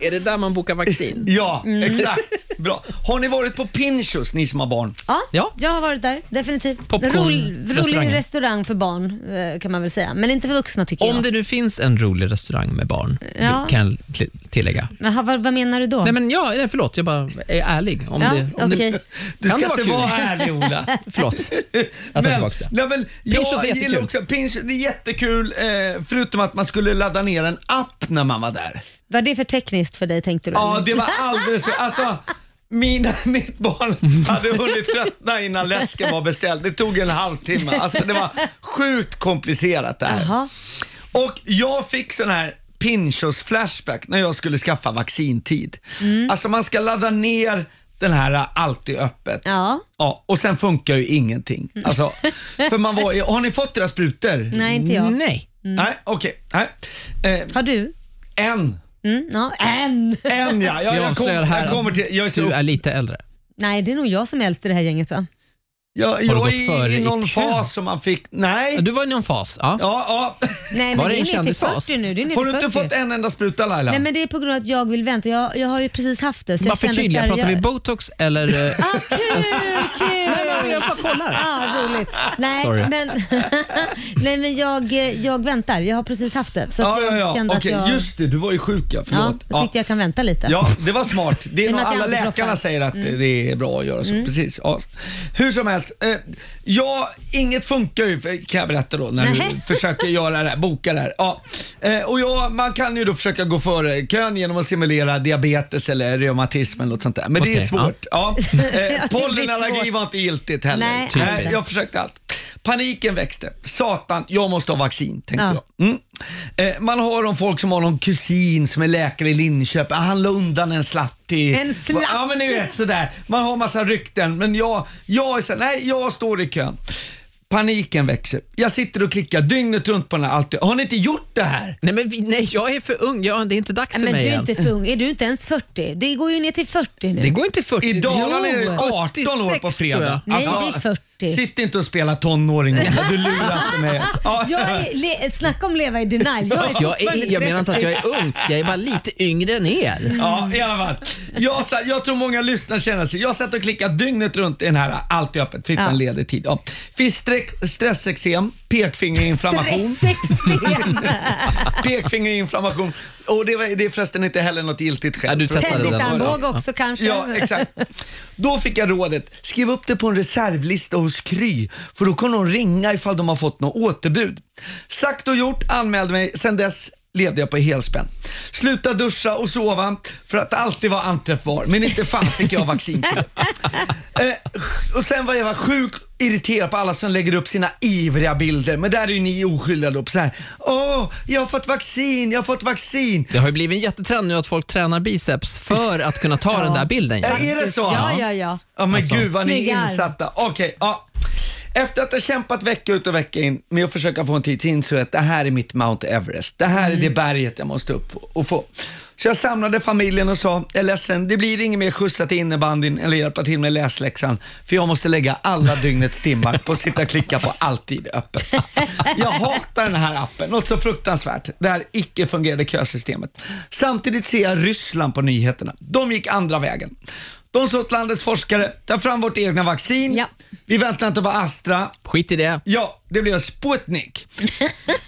Är det där man bokar vaccin? Ja, Mm. exakt. Bra. Har ni varit på Pinchos, ni som har barn? Ja, Ja. jag har varit där. Definitivt. Popcorn- Rolig, restaurangen. rolig restaurang för barn eh, kan man väl säga. Men inte för vuxna tycker Om jag. det nu finns en rolig restaurang med barn, Ja. kan jag till- tillägga. Jaha, vad, vad menar du då? Nej, men ja, nej, förlåt, jag bara är ärlig. Om Ja, det, om okej. det, Du kan ska det vara inte kul? vara ärlig, Ola. Förlåt, jag tar Men- tillbaka det. Nej, men, Pinchos är jag jättekul. gillar också, Pinchos, det är jättekul, eh, förutom att man skulle ladda ner en app när man var där. Vad är det för tekniskt för dig tänkte du? Ja, det var alldeles för... Alltså, mina, mitt barn hade hunnit tröttna innan läsken var beställd. Det tog en halvtimme. Alltså, det var sjukt komplicerat det här. Jaha. Och jag fick sån här Pinchos flashback när jag skulle skaffa vaccintid. Mm. Alltså man ska ladda ner den här ä, Alltid öppet. Ja. Mm. ja. Och sen funkar ju ingenting. Alltså, för man var, i- har ni fått era sprutor? Nej, inte jag. Mm. Nej. Nej, okej. Nej. Eh, Har du? en. Mm, ja. En. En ja. Jag, Vi jag, kom, avslöjar här jag kommer till... Jag är att så du är lite äldre. Nej, det är nog jag som är äldst i det här gänget va? Jag, jag gått är före i i någon kön? fas som man fick... Nej. Ja, Du var i någon fas. Ja. Ja, ja. Nej, men Var det det är en ner till kändisfas? 40 nu. Det är ner Har du till inte 40. fått en enda spruta Laila? Nej, men det är på grund av att jag vill vänta. Jag, jag har ju precis haft det. Så Bara jag känner så förtydliga, här, pratar vi jag- botox eller... eh, Ah, kul, kul! Jag bara kollar. Ah, roligt. Nej, Sorry. men, nej, men jag, jag väntar. Jag har precis haft det. Så Ja, att ja, jag ja. kände Okej, att jag... just det. Du var ju sjuk ja. Ja, Förlåt. jag tyckte jag kan vänta lite. Ja, det var smart. Det I är och med att nog jag Mm. alla aldrig läkarna droppar. säger att det är bra att göra Mm. så. Precis. Ja. Hur som helst, eh, ja, inget funkar ju för- kan jag berätta då när Nej. du försöker göra det här, boka det här. Ja. Eh, och ja, man kan ju då försöka gå före kön genom att simulera diabetes eller reumatism eller något sånt där. Men det är Okej, ja. svårt. Ja. Eh, svårt. Pollenallergi var inte giltigt heller. Nej, Typiskt. Nej, jag försökte allt. Paniken växte. Satan, jag måste ha vaccin, tänkte Ja. jag. Mm. Eh, man hör om folk som har någon kusin som är läkare i Linköping. Ah, Han la undan en slatt till... En slatt? Ja, men ni vet sådär. Man har massa rykten, men jag, jag är såhär, nej, jag står i kön. Paniken växer. Jag sitter och klickar dygnet runt på den här alltid. Har ni inte gjort det här? Nej, men vi, nej, jag är för ung. Ja, det är inte dags Nej, men för mig du är än. inte för ung. Är du inte ens 40? Det går ju ner till 40 nu. Det går inte 40. I Dalarna är Jo, det 18 år på 76 tror jag. fredag. Nej, Alltså, det är 40. Sitt inte och spela tonåring. Ola. Du lurar inte mig. alltså. Ah, Ja. Jag är, le, snacka om leva i denial. Jag är Ah. Jag, är, jag menar inte att jag är ung, jag är bara lite yngre än er. Ja, i alla fall. Jag, sa, jag tror många lyssnare känner sig. Jag satt och klickade dygnet runt i den här Alltid öppet, fittan Ja. leder tid. Ja. Finns streck- stressexem, pekfingerinflammation, Sexscen. pekfingerinflammation och det, var, det är förresten inte heller något giltigt skäl. Ja, du för att- testade den. Tennisarmbåge också kanske. Ja, exakt. Då fick jag rådet, skriv upp det på en reservlista hos Kry, för då kan de ringa ifall de har fått något återbud. Sagt och gjort, anmälde mig. Sen dess levde jag på helspänn. Sluta duscha och sova för att alltid vara anträffbar, men inte fan fick jag vaccin för det. eh, Och sen var jag var sjukt irriterad på alla som lägger upp sina ivriga bilder, men där är ju ni oskyldiga då. på Så här, åh, jag har fått vaccin, jag har fått vaccin. Det har ju blivit en jättetrend nu att folk tränar biceps för att kunna ta den där bilden. Ja. Eh, Är det så? Ja, ja, ja. Ja Alltså. Alltså, men gud vad ni Snygga är arm. insatta. Okej, ja. Efter att ha kämpat vecka ut och vecka in med att försöka få en tid till insåg jag att det här är mitt Mount Everest. Det här är Mm. det berget jag måste upp och få. Så jag samlade familjen och sa, jag är ledsen, det blir ingen mer skjutsa till innebandyn eller hjälpa till med läsläxan. För jag måste lägga alla dygnets timmar på att sitta och klicka på alltid öppet. Jag hatar den här appen, något så fruktansvärt. Det här icke-fungerande kösystemet. Samtidigt ser jag Ryssland på nyheterna. De gick andra vägen. De sa åt landets forskare, ta fram vårt egna vaccin. Ja. Vi väntar inte på Astra. Skit i det. Ja, det blev Sputnik.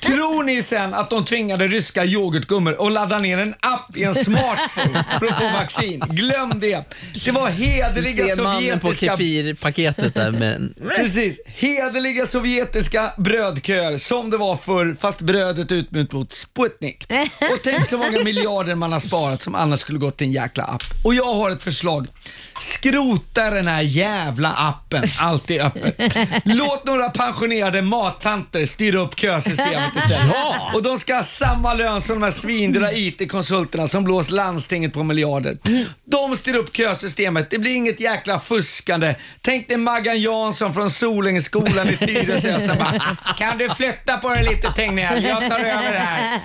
Tror ni sen att de tvingade ryska yoghurtgummor att ladda ner en app i en smartphone för att få vaccin? Glöm det. Det var Du hederliga ser mannen på sovjetiska kefirpaketet där. Men... Precis. Hederliga sovjetiska brödköer som det var förr fast brödet utbytt mot Sputnik. Och tänk så många miljarder man har sparat som annars skulle gått till en jäkla app. Och jag har ett förslag. Skrota den här jävla appen, alltid öppen. Låt några pensionerade mattanter styra upp kösystemet istället. Ja. Och de ska ha samma lön som de här svindyra IT-konsulterna som blåst landstinget på miljarder. De styr upp kösystemet. Det blir inget jäkla fuskande. Tänk dig Maggan Jansson från Solängsskolan i Tyresö som bara “Kan du flytta på dig lite Tegnell? Jag tar över det här”.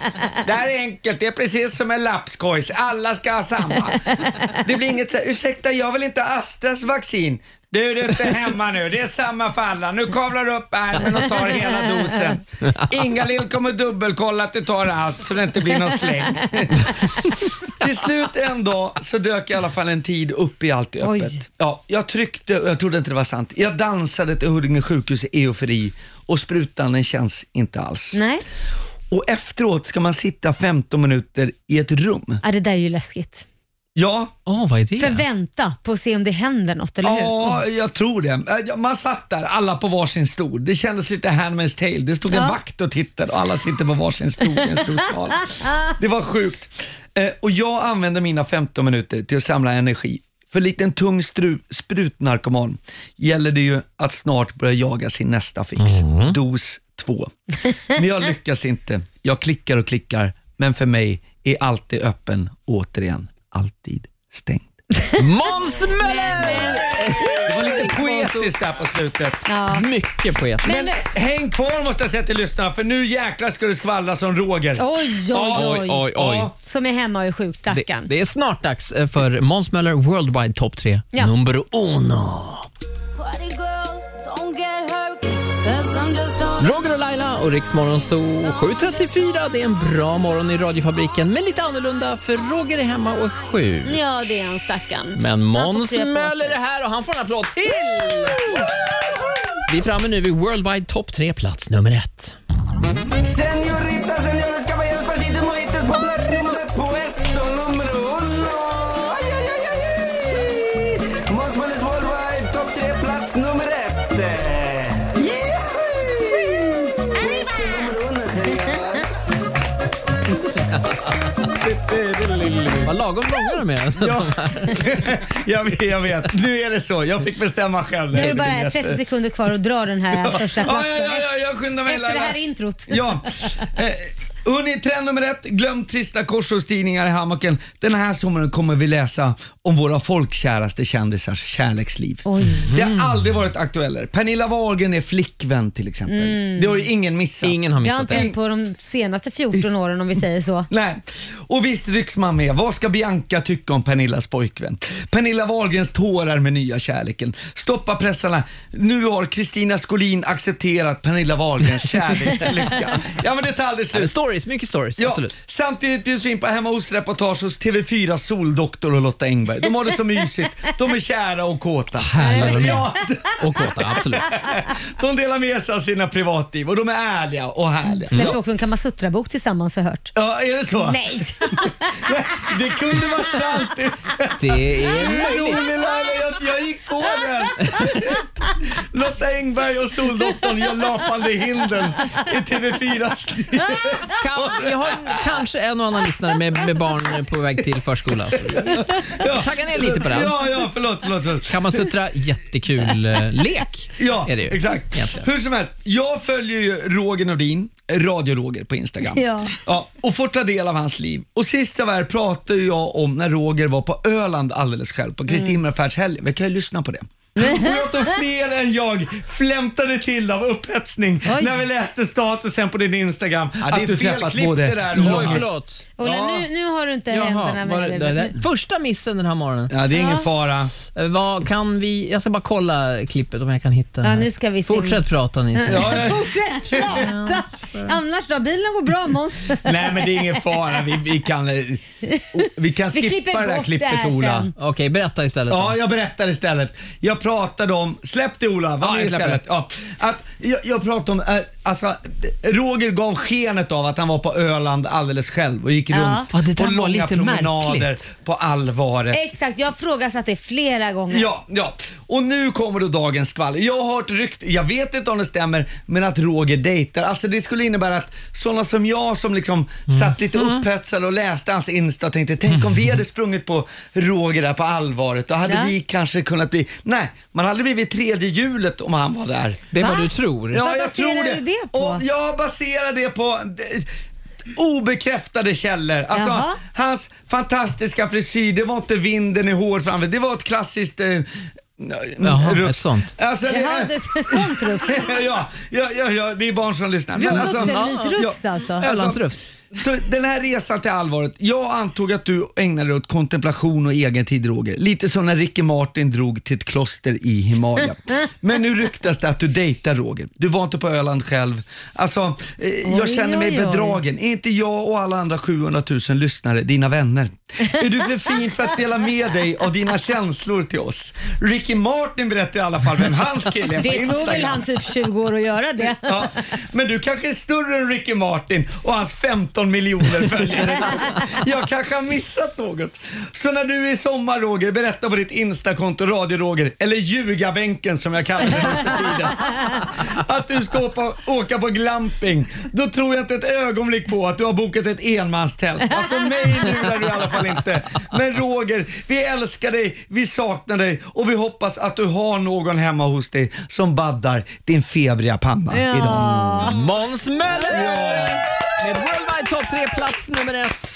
Det här är enkelt. Det är precis som en lapskojs. Alla ska ha samma. Det blir inget så här, ursäkta jag vill inte ha Astras vaccin. Du, du är inte hemma nu. Det är samma för alla. Nu kavlar du upp ärmen och tar hela dosen. Inga-Lill kommer dubbelkolla att du tar allt så det inte blir någon släng. Till slut en dag så dök i alla fall en tid upp i allt i öppet. Oj. Ja, jag tryckte, och jag trodde inte det var sant. Jag dansade till Huddinge sjukhus i eufori och sprutan den känns inte alls. Nej, Och efteråt ska man sitta 15 minuter i ett rum. ja, det där är ju läskigt. Ja, Åh, vad är det? Förvänta på att se om det händer något, eller hur? Ja, jag tror det. Äh, Man satt där, alla på varsin stol. Det kändes lite Handmaid's tale. Det stod en vakt och tittade och alla sitter på varsin stol i en stor sal. Det var sjukt. Eh, Och jag använde mina 15 minuter till att samla energi. För likt en tung stru- sprutnarkoman gäller det ju att snart börja jaga sin nästa fix. Mm. Dos två. Men jag lyckas inte. Jag klickar och klickar, men för mig är alltid öppen, återigen, alltid stängd. Måns Möller! Det var lite poetiskt där på slutet. Mycket poetiskt. Men häng kvar måste jag säga till lyssnarna för nu jäklar ska du skvallra som Roger. Oj, oj, oj. oj, oj. Ja. Som är hemma och är sjuk, Det, stackarn. det är snart dags eh, för Måns Möller Worldwide Top 3, Ja. nummer uno. Party girls, don't get hurt. Cause I'm just on Roger och Laila och Rix Morgonzoo 7.34. Det är en bra morgon i radiofabriken, men lite annorlunda för Roger är hemma och är sjuk. Ja, det är en stackarn. Men Måns tre på Möller är här och han får en applåd till! Vi är framme nu vid Worldwide Top 3, plats nummer ett. Señorita, señores, caballeros, pasitos, mojitos, por plats nummer puesto nummer uno. Aj, aj, aj, aj, aj. Måns Möllers Worldwide topp tre, plats nummer ett. Jihi! Puesto nummer uno, señor. Vad lagom långa de är. Ja. jag, vet, jag vet, nu är det så. Jag fick bestämma själv. Nu är det bara 30 sekunder kvar att dra den här första Ja, kvarten. ja, ja, ja, jag skyndar mig Efter det Laila. här introt. Ja. Eh, Hörni, trend nummer ett. Glöm trista korsordstidningar i hammocken. Den här sommaren kommer vi läsa om våra folkkäraste kändisars kärleksliv. Det Mm. har aldrig varit aktuellare. Pernilla Wahlgren är flickvän till exempel. Det har ju ingen missat. Ingen har Mm. Det har missat inte det. hänt på de senaste 14 åren om vi säger så. Nej. Och visst rycks man med. Vad ska Bianca tycka om Pernillas pojkvän? Pernilla Wahlgrens tårar med nya kärleken. Stoppa pressarna. Nu har Kristina Skolin accepterat Pernilla Wahlgrens kärlekslycka. Ja men det tar aldrig slut. Stories, mycket stories. Ja, Absolut. samtidigt bjuds vi in på hemma hos-reportage hos TV4 Soldoktor och Lotta Engberg. De har det så mysigt. De är kära och kåta. Härliga de är. ja, Och kåta, absolut. de delar med sig av sina privatliv och de är ärliga och härliga. Släpper också en Kamasutra-bok tillsammans har jag hört. Mm. Ja, är det så? Nej! Det kunde varit sant. Det är Rolig Laila, jag, jag gick på den. Lotta Engberg och Soldoktorn gör lapande hinden i TV4s liv. Kan, jag har kanske en och annan lyssnare med, med barn på väg till förskolan. Tagga ner lite på den. Ja, ja, förlåt, förlåt. förlåt. Kamasutra, jättekul eh, lek. Ja, är det ju. exakt. egentligen. Hur som helst, jag följer ju Roger Nordin, Radio Roger på Instagram. Ja. och får ta del av hans liv. Och sist jag var här pratade jag om när Roger var på Öland alldeles själv, på Mm. Kristi himmelfärdshelgen. Vi kan ju lyssna på det. Och jag tog fel än jag flämtade till av upphetsning Oj. när vi läste statusen på din Instagram. det är att fel du träffat klipp både det där, Roger- Oj, förlåt. Ola, Ja. nu, nu har du inte Jaha, händerna var med det, dig. det, det. Första missen den här morgonen. Ja, det är ingen fara. Eh, Vad kan vi, jag ska bara kolla klippet om jag kan hitta den Ja, här. nu ska vi se. Fortsätt prata ni. Fortsätt prata! Annars då? Bilen går bra Måns. Nej men det är ingen fara. Vi, vi kan, eh, o- vi kan Vi klipper skippa det där bort det klippet här Ola. sen. Okej, berätta istället. då. Ja, jag berättar istället. Jag pratade om, släpp det Ola, Ja, var med jag släpper istället. Ja, att jag, jag pratade om, eh, alltså Roger gav skenet av att han var på Öland alldeles själv och gick runt Ja, det där på var långa lite promenader märkligt. på allvaret. Exakt, jag har frågat det flera gånger. Ja, ja. Och nu kommer då dagens skvall. Jag har hört rykt, jag vet inte om det stämmer, men att Roger dejtar. Alltså det skulle innebära att sådana som jag som liksom Mm. satt lite upphetsad och läste hans Insta och tänkte, tänk om vi hade sprungit på Roger där på allvaret, då hade Ja. vi kanske kunnat bli, nej, man hade blivit tredje hjulet om han var där. Det var vad du tror. Ja, Vad jag baserar tror det. du det på? Och jag baserar det på eh, obekräftade källor. Alltså, Jaha. hans fantastiska frisyr, det var inte vinden i håret framför, det var ett klassiskt eh, Jaha, rufs. ett sånt. Mm. Alltså, det, Jaha, det är sånt rufs. ja, ja, ja, ja, det är barn som lyssnar. Vi har ja. vuxenmysrufs alltså. Ölandsrufs. Så den här resan till allvaret. Jag antog att du ägnade dig åt kontemplation och egentid Roger. Lite som när Ricky Martin drog till ett kloster i Himalaya. Men nu ryktas det att du dejtar Roger. Du var inte på Öland själv. Alltså, eh, jag Oj, känner mig oj, oj. bedragen. Är inte jag och alla andra 700 000 lyssnare dina vänner? Är du för fin för att dela med dig av dina känslor till oss? Ricky Martin berättar i alla fall vem hans kille är på Det tog Instagram. väl han typ 20 år att göra det. Ja, men du kanske är större än Ricky Martin och hans 15 miljoner följare. Jag kanske har missat något. Så när du i sommar Roger, berätta på ditt Instakonto Radio Roger, eller Ljugabänken som jag kallar det nu för tiden. Att du ska åka, åka på glamping. Då tror jag inte ett ögonblick på att du har bokat ett enmanstält. Alltså mig lurar du i alla fall inte. Men Roger, vi älskar dig, vi saknar dig och vi hoppas att du har någon hemma hos dig som baddar din febriga panna idag. Måns Möller! Med Worldwide Top 3, plats nummer ett.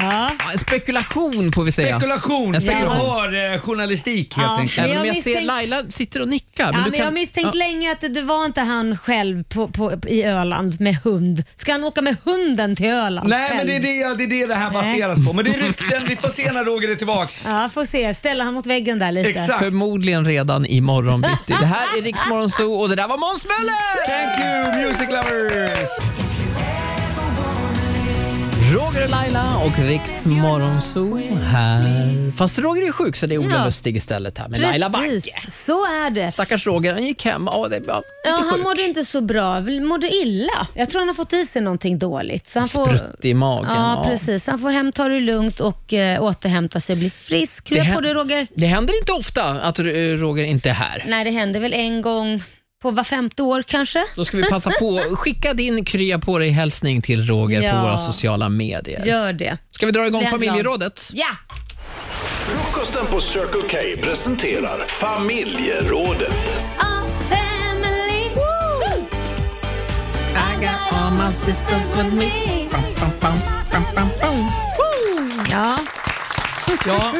Ja, en spekulation får vi säga. Spekulation, En spekulation. spekulation. journalistik helt Ja. enkelt. Även Jag om jag ser misstänk- Laila sitter och nickar. Ja, du men jag har misstänkt Ja. länge att det- det var inte han själv på, på, i Öland med hund. Ska han åka med hunden till Öland Nej men själv? det är det, det är det det här baseras på. Men det är rykten, vi får se när Roger är tillbaks. Ja, får se. Ställa han mot väggen där lite. Exakt. Förmodligen redan imorgon bitti. Det här är Riksmorgon Zoo och det där var Måns Möller! Thank you music lovers! Roger och Laila och Riksmorgon Zoo här. Fast Roger är sjuk så det är Ola Mm. Ja. Lustig istället här med Laila Bagge. Precis, så är det. Stackars Roger, han gick hem. Ja, det är ja, Ja, lite han sjuk. mådde inte så bra, Väl- mådde illa. Jag tror han har fått i sig någonting dåligt. Så han Alltså, får, Sprutt i magen. ja, precis. Han får hem, ta det lugnt och eh, återhämta sig och bli frisk. Hur Det är jag hän- på dig Roger? Det händer inte ofta att eh, Roger inte är här. Nej, det händer väl en gång på var femte år kanske. Då ska vi passa på att skicka din krya på dig-hälsning till Roger på Ja. våra sociala medier. Gör det. Ska vi dra igång Bli glad. familjerådet? Ja! Frukosten på Circle K presenterar Familjerådet. A family. Woo! I got all my sisters with me. Ja, Ja,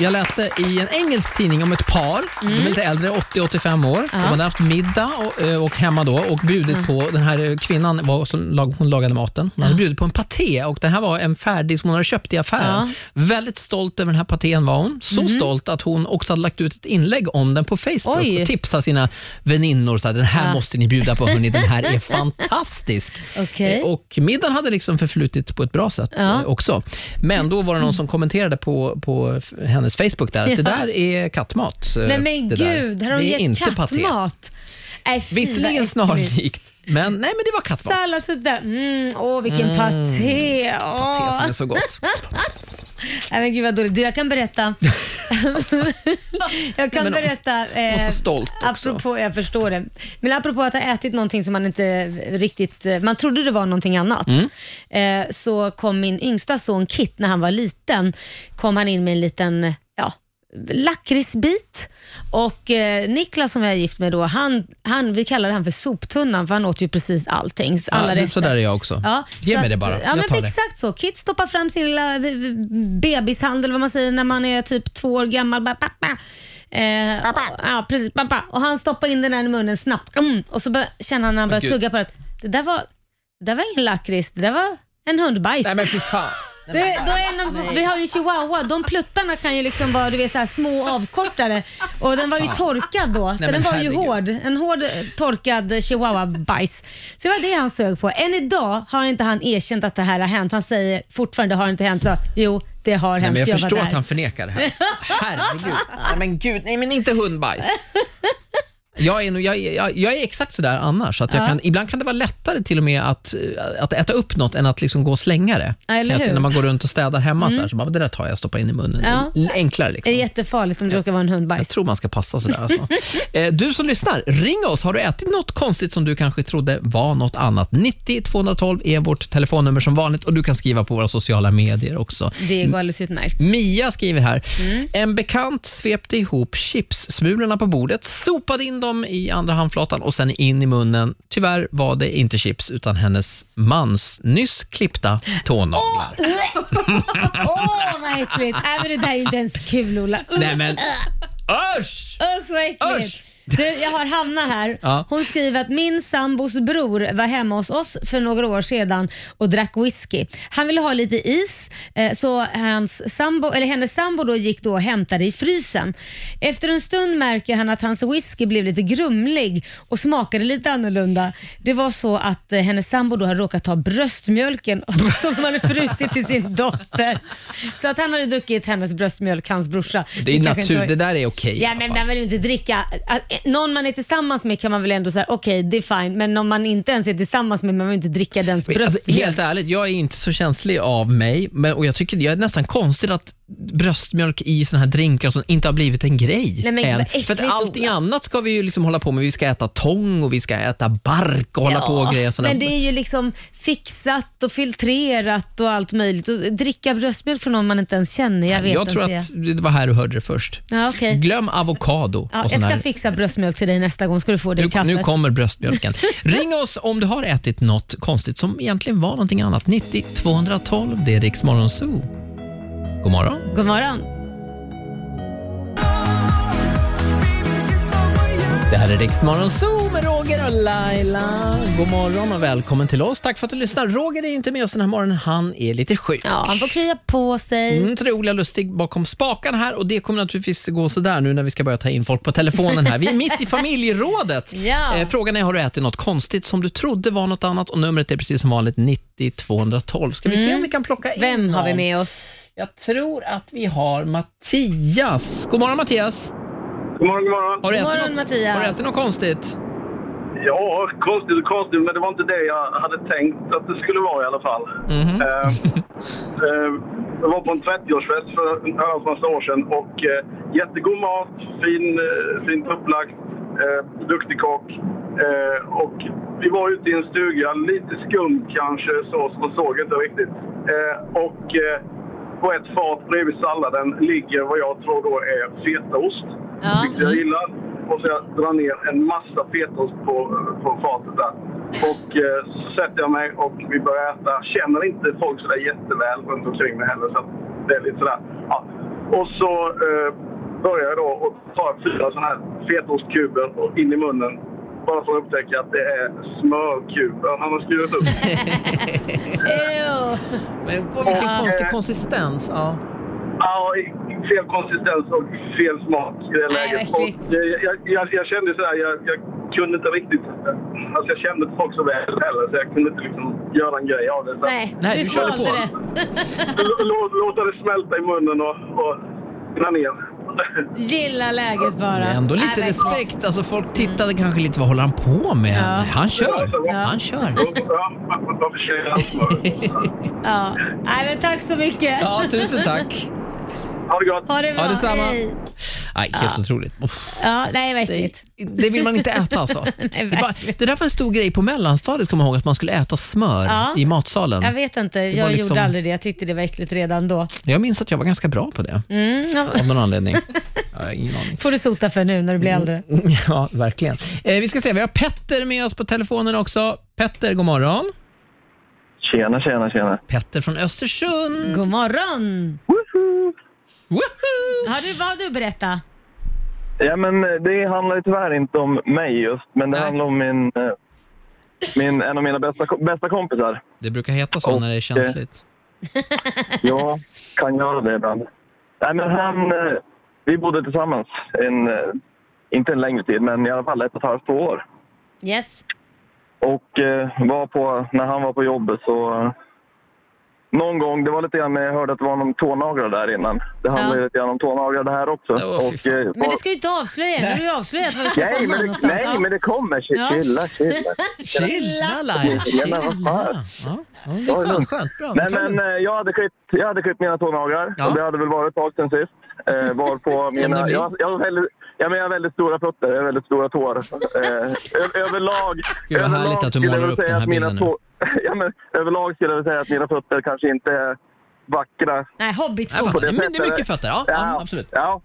jag läste i en engelsk tidning om ett par, de är lite äldre, 80-85 år. De hade haft middag och, eh, och hemma då och bjudit på, den här eh, kvinnan var, som lag, hon lagade maten, hon hade bjudit på en paté och det här var en färdig som hon hade köpt i affären. Väldigt stolt över den här patén var hon. Så stolt att hon också hade lagt ut ett inlägg om den på Facebook Oj. och tipsat sina väninnor. Så här, den här måste ni bjuda på, hörni, den här är fantastisk. Okej. Eh, Och middagen hade liksom förflutit på ett bra sätt Ja. eh, också. Men då var det någon som kommenterade på, på f- hennes Facebook där att det där är kattmat. eh, men, men det där. gud, har de Det är gett inte paté. kattmat? Nej, fy, Visserligen vad äckligt. snarlikt, men, nej, men det var kattmat. Sallad sådär. Mm, åh, vilken paté. Åh. Tesen är så gott. Nej, men gud vad dåligt. Du, jag kan berätta. jag kan Men, berätta. var eh, så stolt också. apropå, Jag förstår det. Men apropå att ha ätit någonting som man inte riktigt... eh, Man trodde det var någonting annat. Mm. Eh, så kom min yngsta son Kit, när han var liten, kom han in med en liten ja, lakritsbit. Och eh, Niklas som jag är gift med då, han, han, vi kallade han för soptunnan för han åt ju precis allting. Alla Ja, det- rester. så där är jag också. Ja, Ge så mig det att- bara. Ja, jag men tar det. exakt så. Kids stoppar fram sin lilla v- v- bebishand, eller vad man säger, när man är typ två år gammal. Bara, pappa. Eh, Ja, precis. Pappa. Och han stoppar in den där i munnen snabbt. Mm. Och så bör, känner han när han börjar gud. tugga på det att det där var, det där var ingen lakrits, det där var en hundbajs. Nej men fy fan. Det, då är en av, vi har ju chihuahua, de pluttarna kan ju liksom vara du vet, så här små avkortare. Och den var ju torkad då, för men den var ju herregud. hård. En hård eh, torkad chihuahua-bajs. Så det var det han sög på. Än idag har inte han erkänt att det här har hänt. Han säger fortfarande har det inte hänt. Så, jo, det har Nej, hänt. men jag var förstår där. att han förnekar det här. Herregud. Nej men gud, nej men inte hundbajs. Jag är, nog- jag, är- jag, jag är exakt sådär annars. Att jag kan, ibland kan det vara lättare till och med att, eh, att äta upp något än att liksom gå och slänga det. Ja, eller Att hur? Mm. När man går runt och städar hemma så, här, så bara, det där tar jag och stoppar in i munnen. Ja. Enklare Det är liksom. jättefarligt om det råkar vara en Jag hundbajs. tror man ska passa sådär. Alltså. Eh, du som lyssnar, ring oss. Har du ätit något konstigt som du kanske trodde var något annat? 90 212 är vårt telefonnummer som vanligt och du kan skriva på våra sociala medier också. Det går Mm. alldeles utmärkt. Mia skriver här. En bekant svepte ihop chipssmulorna på bordet, sopade in dem i andra handflatan och sen in i munnen. Tyvärr var det inte chips utan hennes mans nyss klippta tånaglar. Åh, vad äckligt. Nej, men det där är ju inte ens kul, Ola. Usch. Nej, men- Usch! Usch, vad äckligt. Usch. Du, jag har Hanna här. Ja. Hon skriver att min sambos bror var hemma hos oss för några år sedan och drack whisky. Han ville ha lite is eh, så hans sambo, eller hennes sambo då gick då och hämtade i frysen. Efter en stund märker han att hans whisky blev lite grumlig och smakade lite annorlunda. Det var så att eh, hennes sambo då hade råkat ta bröstmjölken som han hade frusit till sin dotter. Så att han hade druckit hennes bröstmjölk, hans brorsa. Det är kanske inte var- natur, det där är okej. Ja, men man vill ju inte dricka. Att, eh, Någon man är tillsammans med kan man väl ändå säga, okej det är fine, men om man inte ens är tillsammans med, man vill inte dricka dens bröst. Alltså, helt ärligt, jag är inte så känslig av mig men, och jag tycker det är nästan konstigt att bröstmjölk i såna här drinkar och sånt inte har blivit en grej Nej, men gud, än. vad äckligt, För att allting annat ska vi ju liksom hålla på med. Vi ska äta tång och vi ska äta bark och hålla på och grejer. Såna. men det är ju liksom fixat och filtrerat och allt möjligt. Och dricka bröstmjölk från någon man inte ens känner, jag vet jag inte. tror att det var här du hörde det först. Ja, okej. Glöm avokado Ja, och jag sån ska här. fixa bröstmjölk till dig nästa gång, ska du få det i Nu, kaffet. nu kommer bröstmjölken. Ring oss om du har ätit något konstigt som egentligen var någonting annat. 90 212, det är Rix Morgon Zoo. God morgon. God morgon. Det här är Riksmorgon Zoo med Roger och Laila. God morgon och välkommen till oss. Tack för att du lyssnar. Roger är ju inte med oss den här morgonen. Han är lite sjuk. Ja, han får krya på sig. Mm, så det är Ola Lustig bakom spakarna här och det kommer naturligtvis gå sådär nu när vi ska börja ta in folk på telefonen här. Vi är mitt i familjerådet. Ja. Eh, frågan är, har du ätit något konstigt som du trodde var något annat? Och numret är precis som vanligt 90 212. Ska vi se om vi kan plocka in Vem har vi någon? med oss? Jag tror att vi har Mattias. God morgon Mattias. God morgon, god morgon. Har du, God ätit, morgon, något, Mattias. har du ätit något konstigt? Ja, konstigt och konstigt, men det var inte det jag hade tänkt att det skulle vara i alla fall. Mhm. Eh, eh, jag var på en 30-årsfest för en herrans massa år sedan och eh, jättegod mat, fin, eh, fint upplagt, eh, duktig kock. Eh, och vi var ute i en stuga, lite skum kanske så, så man såg inte riktigt. Eh, och eh, på ett fat bredvid salladen ligger vad jag tror då är fetaost. Ja. Vilket jag gillar. Och så jag drar ner en massa fetaost på, på fatet där. Och eh, så sätter jag mig och vi börjar äta. Känner inte folk sådär jätteväl runt omkring mig heller. Så att det är lite sådär. Ja. Och så eh, börjar jag då och tar fyra sådana här fetaostkuber och in i munnen. Bara för att upptäcka att det är smörkuber han har skurit upp. Ew. Men vilken Ja. konstig konsistens. Ja. Ja, i- fel konsistens och fel smak i det Nej, läget. vad Och eh, jag, jag, jag kände så här, jag, jag kunde inte riktigt... Alltså jag kände inte folk så väl heller, så jag kunde inte liksom göra en grej av det. Så Nej, Nej, du, du körde svalde på. det. l- lå- Låta det smälta i munnen och, och rinna ner. Gilla läget bara. Det är ändå Nej, lite men- respekt. Alltså folk tittade kanske lite, vad håller han på med? Ja. Han kör. Ja. Han kör. Ja, varför känner jag smör? Ja. Nej, men tack så mycket. Ja, tusen tack. Ha det gott! Ha det bra. Ja, detsamma. Hej. Nej, helt otroligt. Ja, nej, verkligen. Det vill man inte äta alltså. Nej, det, var, det där var en stor grej på mellanstadiet, kommer jag ihåg, att man skulle äta smör Ja. i matsalen. Jag Jag, vet inte, var jag liksom- gjorde aldrig det. Jag tyckte det var äckligt redan då. minns att jag var ganska bra på det, Mm. ja. av någon anledning. Mm. Jag har ingen aning. får du sota för nu när du blir äldre. Ja, verkligen. Eh, vi ska se, vi har Petter med oss på telefonen också. Petter, god morgon. Tjena, tjena, tjena. Petter från Östersund. God morgon! Har du, vad har du berättat? Ja, men eh, det handlar ju tyvärr inte om mig just, men det handlar om min, eh, min, en av mina bästa, ko- bästa kompisar. Det brukar heta så när det är känsligt. Jag kan göra det ibland. Nej, men han, eh, vi bodde tillsammans, en, eh, inte en längre tid, men i alla fall ett och ett halvt, två år. Yes. Och eh, var på, när han var på jobbet så... eh, Någon gång, det var lite grann med, jag hörde att det var någon tånaglar där innan. Det handlar ju lite grann om tånaglar det här också. och, eh, Men det ska du inte avslöja. Nu har du avslöjat var vi ska Nej, komma men det, någonstans. nej, Ja. men det kommer. Ja. Chilla, chilla. Chilla, Laila, Tjena, vad fan. det är lugnt. skönt, bra. Nej, Ta det men eh, jag hade klippt, jag hade klippt mina tånaglar Ja. och det hade väl varit ett tag sen sist. Eh, var på mina, blir. jag, jag, har väldigt, ja, men jag har väldigt stora fötter, jag har väldigt stora tår. Eh, ö- överlag... Gud, vad överlag härligt att du skulle jag målar väl upp den säga här att mina bilden nu. tå- ja, men, överlag skulle jag väl säga att mina fötter kanske inte är vackra. Nej, hobbit Nej, får. det är mycket fötter, ja, absolut. Ja.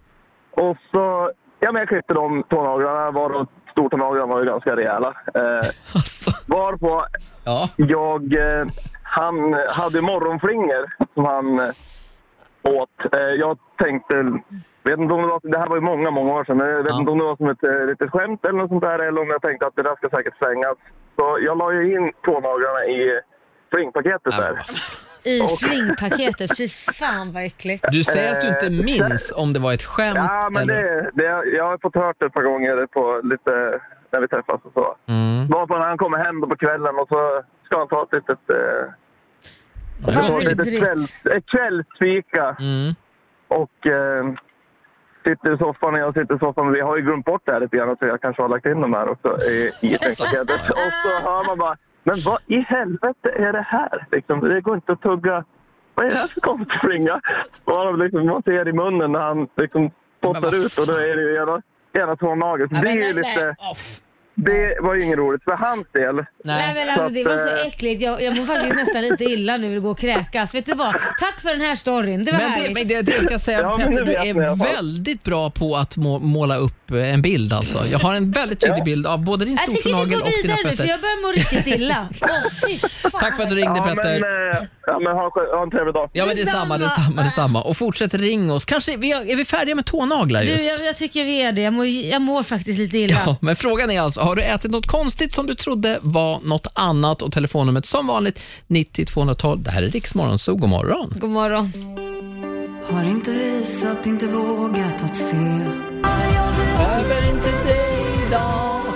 Och så, ja, men jag klippte de tånaglarna, var de stortånaglarna var ju ganska rejäla. Eh, Varpå jag... Eh, han hade morgonflingor som han eh, åt. Eh, jag tänkte... Vet inte om det, var, det här var ju många, många år sedan. Jag vet inte om det var som ett eh, litet skämt eller något sånt där eller om jag tänkte att det där ska säkert svängas. Så jag la ju in tånaglarna i flingpaketet där. I flingpaketet. Fy fan vad äckligt. Du säger att du inte minns om det var ett skämt Eh, Ja, men eller... det, det, jag har fått hört det ett par gånger på lite, när vi träffas och så. Mm. Varpå när han kommer hem då på kvällen och så ska han ta ett litet... Eh, Vad ska ta ett litet vidrigt. kvälls, ett kvällsfika. Mm. Och eh, sitter i soffan och jag sitter i soffan. Vi har ju glömt bort det här lite grann så jag kanske har lagt in de här också i, i tänkpaketet. Eh, Ah. Och så hör man bara, men vad i helvete är det här? Liksom, det går inte att tugga. Vad är det här för konstig flinga? Och han liksom, man ser i munnen när han liksom spottar ut och då är det ju ena, ena tånageln. Så Ja, det men är ju nej, nej. lite... Det var ju inget roligt för hans del. eh, Nej men alltså det var så eh, äckligt. Jag, jag mår faktiskt nästan lite illa nu vill gå och kräkas. Vet du vad? Tack för den här storyn. Det var Men det, härligt. men det, det ska jag säga Petter, du är väldigt bra på att må, måla upp eh, en bild alltså. Jag har en väldigt tydlig bild av både din Jag tycker vi stortånagel går och dina vidare nu för fötter. jag börjar må riktigt illa. Åh, fy fan. Tack för att du ringde Petter. ja, men ha, en trevlig dag. Ja, men detsamma, detsamma, detsamma. Och fortsätt ring oss. Kanske, vi har- är vi färdiga med tånaglar Du, just? jag, jag tycker vi är det. Jag mår, jag mår faktiskt lite illa. Ja, men frågan är alltså, har du ätit något konstigt som du trodde var något annat? Och telefonnumret som vanligt 90 212. Det här är Riksmorgon, så god morgon. God morgon. Har inte visat, inte vågat att se.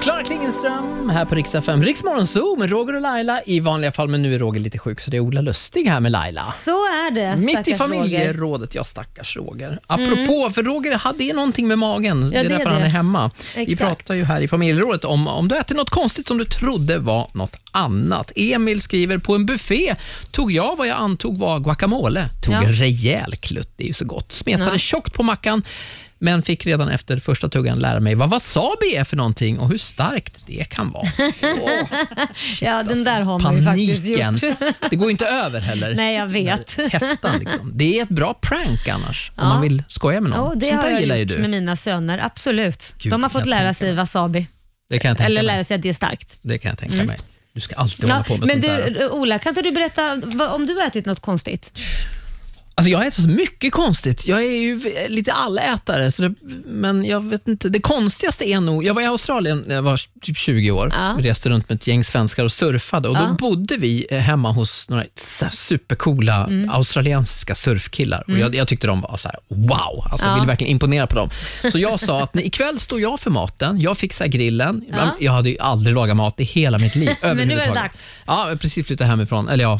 Klara Klingenström här på Riksdag 5. Riksmorgon Zoo med Roger och Laila i vanliga fall, men nu är Roger lite sjuk så det är Ola Lustig här med Laila. Så är det. Mitt i Eh, stackars Roger. Mm. familjerådet, ja stackars Roger. Apropå, för Roger hade ju någonting med magen, det Ja, det är är därför det. han är hemma. Vi Exakt. pratar ju här i familjerådet om om du äter något konstigt som du trodde var något annat. Emil skriver, på en buffé tog jag vad jag antog var guacamole. Tog Ja. en rejäl klutt, det är ju så gott. Smetade Ja. tjockt på mackan, men fick redan efter första tuggan lära mig vad wasabi är för någonting och hur starkt det kan vara. ja, den där har man ju faktiskt Alltså, Paniken. gjort. Det går ju inte över heller. Nej, jag vet. Hettan liksom. Det är ett bra prank annars, Ja. om man vill skoja med någon. Oh, det Sånt har där jag gillar ju gjort med du. mina söner, absolut. Gud, De har jag fått kan lära tänka sig wasabi. Det kan jag tänka Eller mig. lära sig att det är starkt. Det kan jag tänka Mm. mig. Du ska alltid hålla Ja, på med men sånt du, eh, där. Ola, kan inte du berätta vad, om du har ätit något konstigt? Alltså jag äter så mycket konstigt. Jag är ju lite allätare. Så det, men jag vet inte. Det konstigaste är nog... Jag var i Australien när jag var typ 20 år. Ja. Vi reste runt med ett gäng svenskar och surfade. Och Ja. Då bodde vi eh, hemma hos några så här supercoola Mm. australiensiska surfkillar. Mm. Och jag, jag tyckte de var så här, wow. Alltså, Ja. Jag ville verkligen imponera på dem. Så jag sa att "Nej, ikväll står jag för maten. Jag fixar grillen. Ja. Jag hade ju aldrig lagat mat i hela mitt liv. Men nu är det överhuvudtaget. dags. Ja, jag har precis flyttat hemifrån. Eller ja,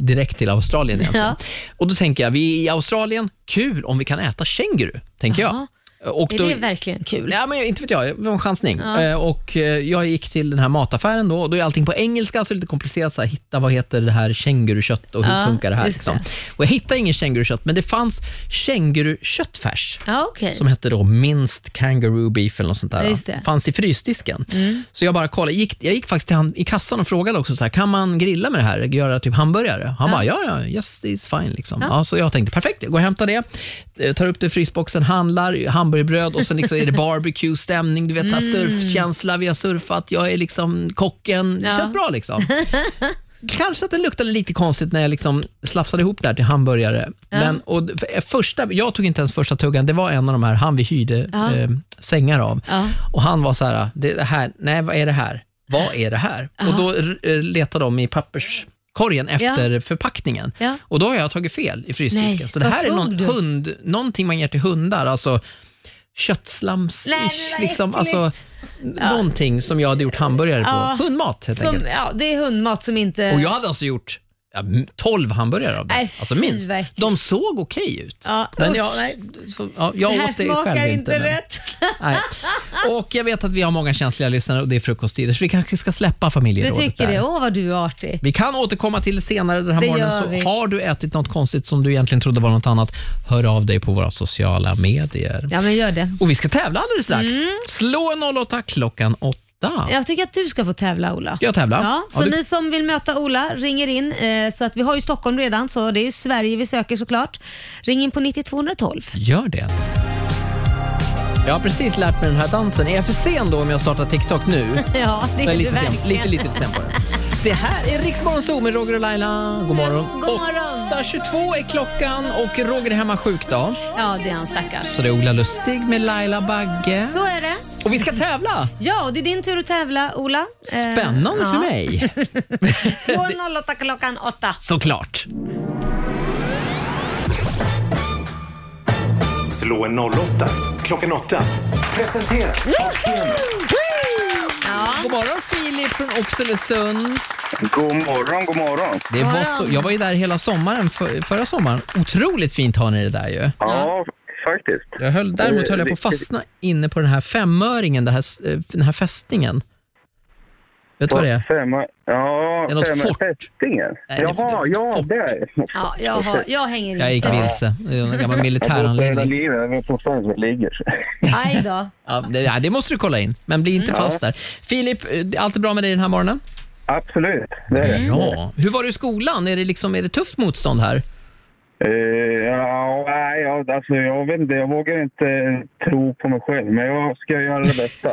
direkt till Australien egentligen. Ja. Och då tänker jag, vi är i Australien, kul om vi kan äta känguru, tänker jag. Och är då, det verkligen kul? Ja, men jag- inte vet jag, det var en chansning. Ja. Eh, Och eh, jag gick till den här mataffären då, och då är allting på engelska, så det är lite komplicerat. Så här, hitta vad heter det här kängurukött och hur Ja, funkar det här? just Liksom. det. Och jag hittade ingen kängurukött, men det fanns känguruköttfärs. Ja, okej. Som hette då minst kangaroo beef eller något sånt där. Just det. Mm. Fanns i frysdisken. Så jag bara kollade. Gick, jag gick faktiskt till han i kassan och frågade också, så här, kan man grilla med det här? Göra typ hamburgare? Han Ja. bara, ja, ja, yes it's fine. Liksom. Ja. Ja. så jag tänkte, perfekt, jag går och hämtar det. eh, Tar upp det i frysboxen, handlar hamburgerbröd och sen liksom är det barbecue, stämning, du vet, så här, Mm. surfkänsla, vi har surfat, jag är liksom kocken. Det Ja. känns bra liksom. Kanske att den luktade lite konstigt när jag liksom slafsade ihop det här till hamburgare. Ja. Men, och f- första, jag tog inte ens första tuggan, det var en av de här han vi hyrde Ja. eh, sängar av. Ja. Och Han var så här, det det här, nej vad är det här? Vad är det här? Och Då r- eh, letade de i papperskorgen efter förpackningen. Ja. Och Då har jag tagit fel i Nej, frysdisken. Så det vad här är tog någon du? hund, någonting man ger till hundar. Alltså köttlams Nej, men vad liksom, äckligt. alltså, Någonting som jag hade gjort hamburgare på. Ja. Hundmat helt Som, enkelt. ja, det är hundmat som inte... Och jag hade alltså gjort ja, 12 hamburgare av det. Nej, alltså fy, minst. vad äckligt. De såg okej ut. Ja, Men usch. jag, nej, så, ja, jag det här åt det smakar själv inte men- rätt. Nej. Och jag vet att vi har många känsliga lyssnare och det är frukosttider så vi kanske ska släppa Du familjerådet tycker där. det? Åh, vad du är artig. Vi kan återkomma till det senare den här Det morgonen. gör Så vi. har du ätit något konstigt som du egentligen trodde var något annat, hör av dig på våra sociala medier. Ja, Mm. men gör det. Och vi ska tävla alldeles strax. Slå en 08 klockan 8. Jag tycker att du ska få tävla Ola. Ska jag tävla? Ja, så Ja, du- ni som vill möta Ola ringer in. Eh, så att vi har ju Stockholm redan, så det är ju Sverige vi söker såklart. Ring in på 9212. Gör det. Jag har precis lärt mig den här dansen. Är jag för sen då om jag startar TikTok nu? Ja, det Jag är lite du sen, verkligen. lite, lite sen bara. Det här är Riksmorgon Zoo med Roger och Laila. God morgon. God morgon. 8.22 är klockan och Roger är hemma sjuk då. Ja, det är han stackars. Så det är Ola Lustig med Laila Bagge. Så är det. Och vi ska tävla! Ja, och det är din tur att tävla, Ola. Eh, Spännande ja. för mig. 2.08 klockan 8. Såklart. Slå en 08 klockan 8. Presenteras av Keno. God morgon Filip från Oxelösund. God morgon, god morgon. Det var så, jag var ju där hela sommaren, för, förra sommaren. Otroligt fint har ni det där ju. Ja, faktiskt. Jag höll, däremot höll jag på att fastna inne på den här femöringen, det här, s- eh, den här fästingen. Vet du vad det är? Femma, ja, Det är något femma- fort. Fästingen. Nej, det är Jaha, ja, det är Ja, jag, har, jag hänger Jag gick vilse. Det är en gammal militäranläggning. Jag vet inte var det ligger. Aj då. Ja, det, ja, det måste du kolla in, men bli inte Mm. fast där. Filip, eh, allt är bra med dig den här morgonen? Absolut, det är det. Ja. Hur var du i skolan? Är det, liksom, är det tufft motstånd här? Eh, ja, nej, ja, alltså, jag vet inte, jag vågar inte eh, tro på mig själv, men jag ska göra det bästa.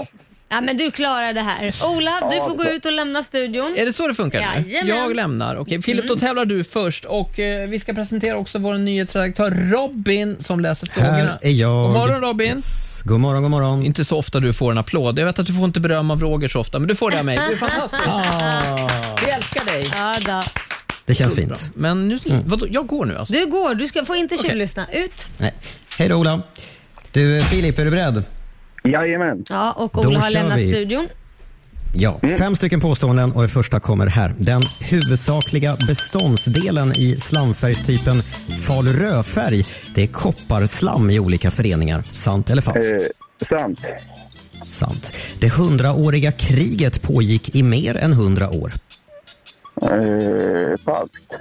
Ja, men du klarar det här. Ola, du Ja, får gå så. ut och lämna studion. Är det så det funkar? nu? Jajamän. Jag lämnar. Okej, Filip, då tävlar du först. Och eh, Vi ska presentera också vår nyhetsredaktör Robin som läser frågorna. Här är jag. God morgon Robin! God morgon, god morgon. Inte så ofta du får en applåd. Jag vet att du får inte beröm av Roger så ofta, men du får det av mig. Du är fantastisk. Vi älskar dig. Ja, då. Det känns fint. Mm. Men nu, vadå, jag går nu alltså? Du går, du ska, får inte tjuvlyssna. Ut. Nej. Hej då Ola. Du eh, Filip, är du beredd? Jajamän. Mm. Ja, och Då Ola har kör lämnat vi. studion. Ja, fem stycken påståenden och det första kommer här. Den huvudsakliga beståndsdelen i slamfärgstypen fal rödfärg, det är kopparslam i olika föreningar. Sant eller falskt? Eh, sant. Sant. Det hundraåriga kriget pågick i mer än hundra år. Eh, falskt.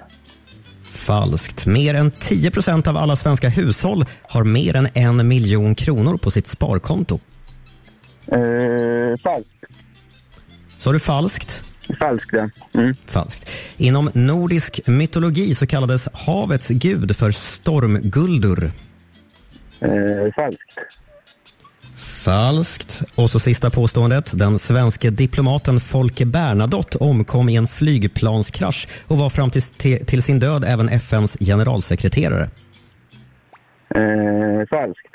Falskt. Mer än 10 procent av alla svenska hushåll har mer än en miljon kronor på sitt sparkonto. Eh, falskt. Sa du falskt? Falskt, ja. Falskt. Inom nordisk mytologi så kallades havets gud för Stormguldur. Eh, falskt. Falskt. Och så sista påståendet. Den svenske diplomaten Folke Bernadotte omkom i en flygplanskrasch och var fram till, till, till sin död även FNs generalsekreterare. Eh, falskt.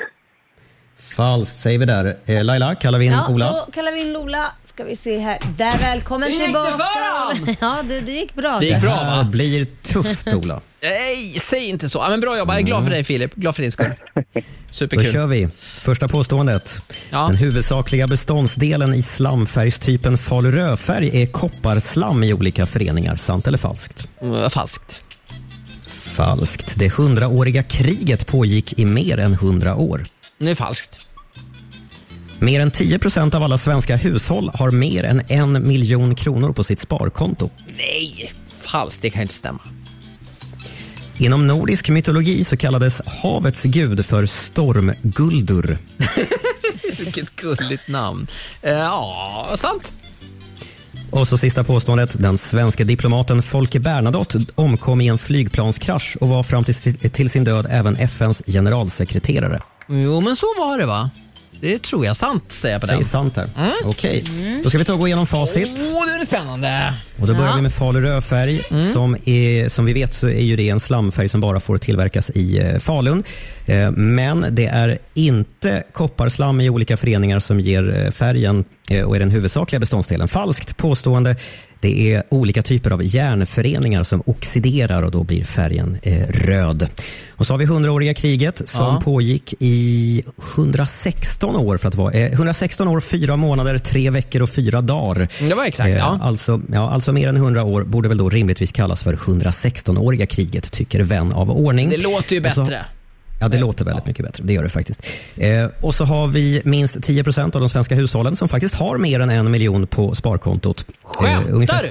Falskt säger vi där. Eh, Laila, kallar vi in ja, Ola? Då kallar vi in Ola. Ska vi se här. Där, välkommen Det gick det tillbaka. för Ja, du, det gick bra. Det gick bra va? blir tufft Ola. Nej, säg inte så. Ja, men bra jobbat. Jag är glad för dig Filip. Glad för din skull. Då Superkul. kör vi. Första påståendet. Den huvudsakliga beståndsdelen i slamfärgstypen fal rödfärg är kopparslam i olika föreningar. Sant eller falskt? Mm, Falskt. Falskt. Det hundraåriga kriget pågick i mer än hundra år. Nu är falskt. Mer än 10 procent av alla svenska hushåll har mer än en miljon kronor på sitt sparkonto. Nej, falskt. Det kan inte stämma. Inom nordisk mytologi så kallades havets gud för Stormguldur. Vilket gulligt namn. Eh, Ja, sant. Och så sista påståendet. Den svenska diplomaten Folke Bernadotte omkom i en flygplanskrasch och var fram till, till sin död även FNs generalsekreterare. Jo, men så var det va? Det tror jag sant, säger jag på Säger den. Mm. sant där. Okej, då ska vi ta och gå igenom facit. Åh, nu är det spännande! Och då börjar Ja. Mm. vi med Falu rödfärg. Som, är, som vi vet så är ju det en slamfärg som bara får tillverkas i eh, Falun. Eh, Men det är inte kopparslam i olika föreningar som ger eh, färgen eh, och är den huvudsakliga beståndsdelen. Falskt påstående. Det är olika typer av järnföreningar som oxiderar och då blir färgen eh, röd. Och så har vi 100-åriga kriget som Ja. pågick i 116 år, för att vara, eh, 116 år, 4 månader, 3 veckor och 4 dagar. Det var exakt, ja. Alltså, ja, alltså mer än 100 år borde väl då rimligtvis kallas för 116-åriga kriget, tycker vän av ordning. Det låter ju Och så- bättre. Ja, det låter väldigt mycket bättre. Det gör det faktiskt. Eh, och så har vi minst 10 procent av de svenska hushållen som faktiskt har mer än en miljon på sparkontot. Eh, Skämtar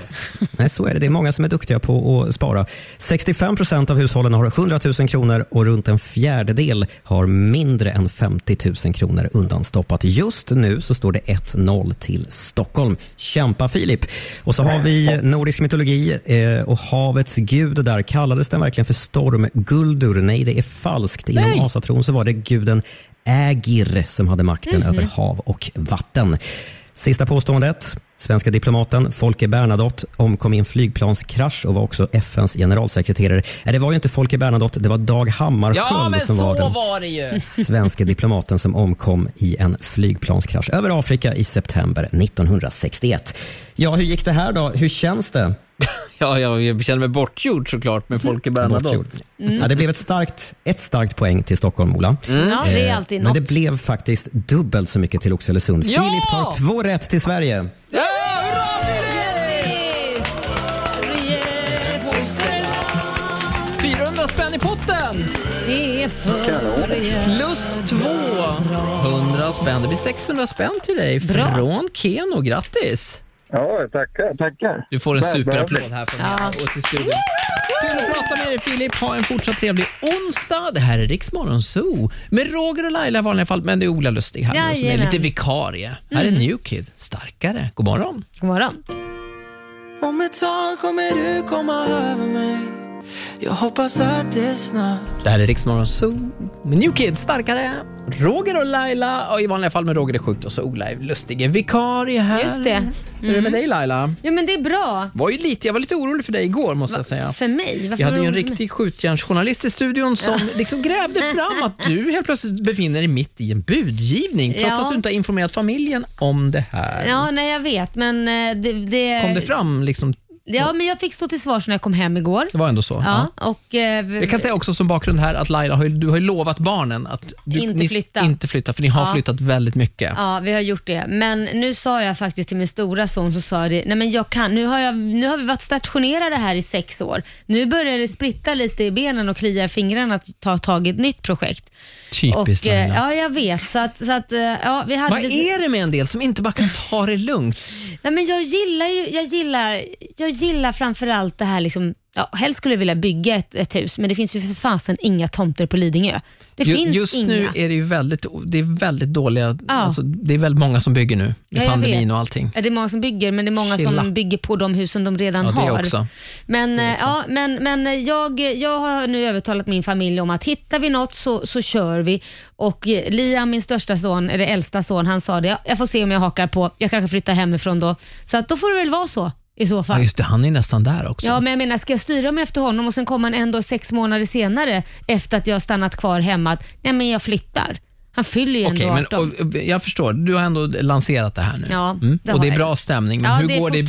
du? Nej, så är det. Det är många som är duktiga på att spara. 65 procent av hushållen har 100 000 kronor och runt en fjärdedel har mindre än 50 000 kronor undanstoppat. Just nu så står det 1-0 till Stockholm. Kämpa Filip! Och så har vi nordisk mytologi eh, och havets gud där. Kallades den verkligen för stormguldur? Nej, det är falskt. inom Nej. asatron så var det guden Ägir som hade makten Mhm. över hav och vatten. Sista påståendet. Svenska diplomaten Folke Bernadotte omkom i en flygplanskrasch och var också FNs generalsekreterare. Nej, det var ju inte Folke Bernadotte, det var Dag Ja, Hammarskjöld men som så var den var det ju. svenska diplomaten som omkom i en flygplanskrasch över Afrika i september 1961. Ja, hur gick det här då? Hur känns det? Ja, jag, jag känner mig bortgjord såklart med Folke Mm. Bortgjord. Bernadotte. Ja, det blev ett starkt, ett starkt poäng till Stockholm, Ola. Mm. Ja, det är Eh, alltid Men det något. blev faktiskt dubbelt så mycket till Oxelösund. Ja! Filip tar två rätt till Sverige. Grattis! Sverige, fosterland. 400 spänn i potten! Det är för Plus två. 100 spänn. Det blir 600 spänn till dig Bra. från Keno. Grattis! Ja, tackar, tackar. Du får en Väl superapplåd behövligt. här från mig och till studion. Kul att prata med dig Filip. Ha en fortsatt trevlig onsdag. Det här är Riksmorgon Zoo med Roger och Laila i vanliga fall, men det är Ola Lustig här nu, som är Jajamän. lite vikarie. Här är Mm. Newkid, starkare. God morgon. God morgon. Om ett tag kommer du komma över mig Jag hoppas att det är snart Det här är Riksmorgon Zoo med Newkid, starkare. Roger och Laila, och i vanliga fall med Roger är sjukt och så Ola är Lustig är vikarie här. Just det. Hur är det Mm. med dig Laila? Ja, men det är bra. Var ju lite, jag var lite orolig för dig igår måste jag säga. För mig? Varför Vi hade ju en orolig för riktig skjutjärnsjournalist i studion som liksom grävde fram att du helt plötsligt befinner dig mitt i en budgivning trots Ja. att du inte har informerat familjen om det här. Ja, nej jag vet, men eh, det... det Kom det fram liksom? Ja, men jag fick stå till svars när jag kom hem igår. Det var ändå så. Ja, Ja. och... eh, vi- Jag kan säga också som bakgrund här att Laila, har ju, du har ju lovat barnen att du, Inte ni, flytta. inte flytta, för ni har Ja. flyttat väldigt mycket. Ja, vi har gjort det. Men nu sa jag faktiskt till min stora son, så sa jag det, nej men jag kan, nu har, jag, nu har vi varit stationerade här i sex år. Nu börjar det spritta lite i benen och klia i fingrarna att ta tag i ett nytt projekt. Typiskt och, eh, Laila. Ja, jag vet. Så att, så att, eh, ja, vi hade Vad lite- är det med en del som inte bara kan ta det lugnt? Nej, men jag gillar ju, jag gillar, jag gillar framförallt det här liksom, ja, helst skulle jag vilja bygga ett, ett hus, men det finns ju för fasen inga tomter på Lidingö. Det Ju- finns Just inga. nu är det ju väldigt, det är väldigt dåliga, Ja. alltså, det är väldigt många som bygger nu med Ja, jag pandemin vet. och allting. Ja, det är många som bygger, men det är många Chilla. som bygger på de husen de redan Ja, det har. också. Men, eh, ja, men, men eh, jag, jag har nu övertalat min familj om att hittar vi något så, så kör vi. Och eh, Liam, min största son, eller äldsta son, han sa det, "Ja, jag får se om jag hakar på. Jag kanske flyttar hemifrån då. Så att då får det väl vara så i så Ja, fall. just det, han är nästan där också. Ja, men jag menar, ska jag styra mig efter honom och sen kommer han ändå sex månader senare efter att jag har stannat kvar hemma att, nej men jag flyttar. Han fyller ju ändå Okej, men 18. och, och, jag förstår. Du har ändå lanserat det här nu. Mm. Ja, det och har det är jag. bra stämning, men Ja, hur det är går det i fort-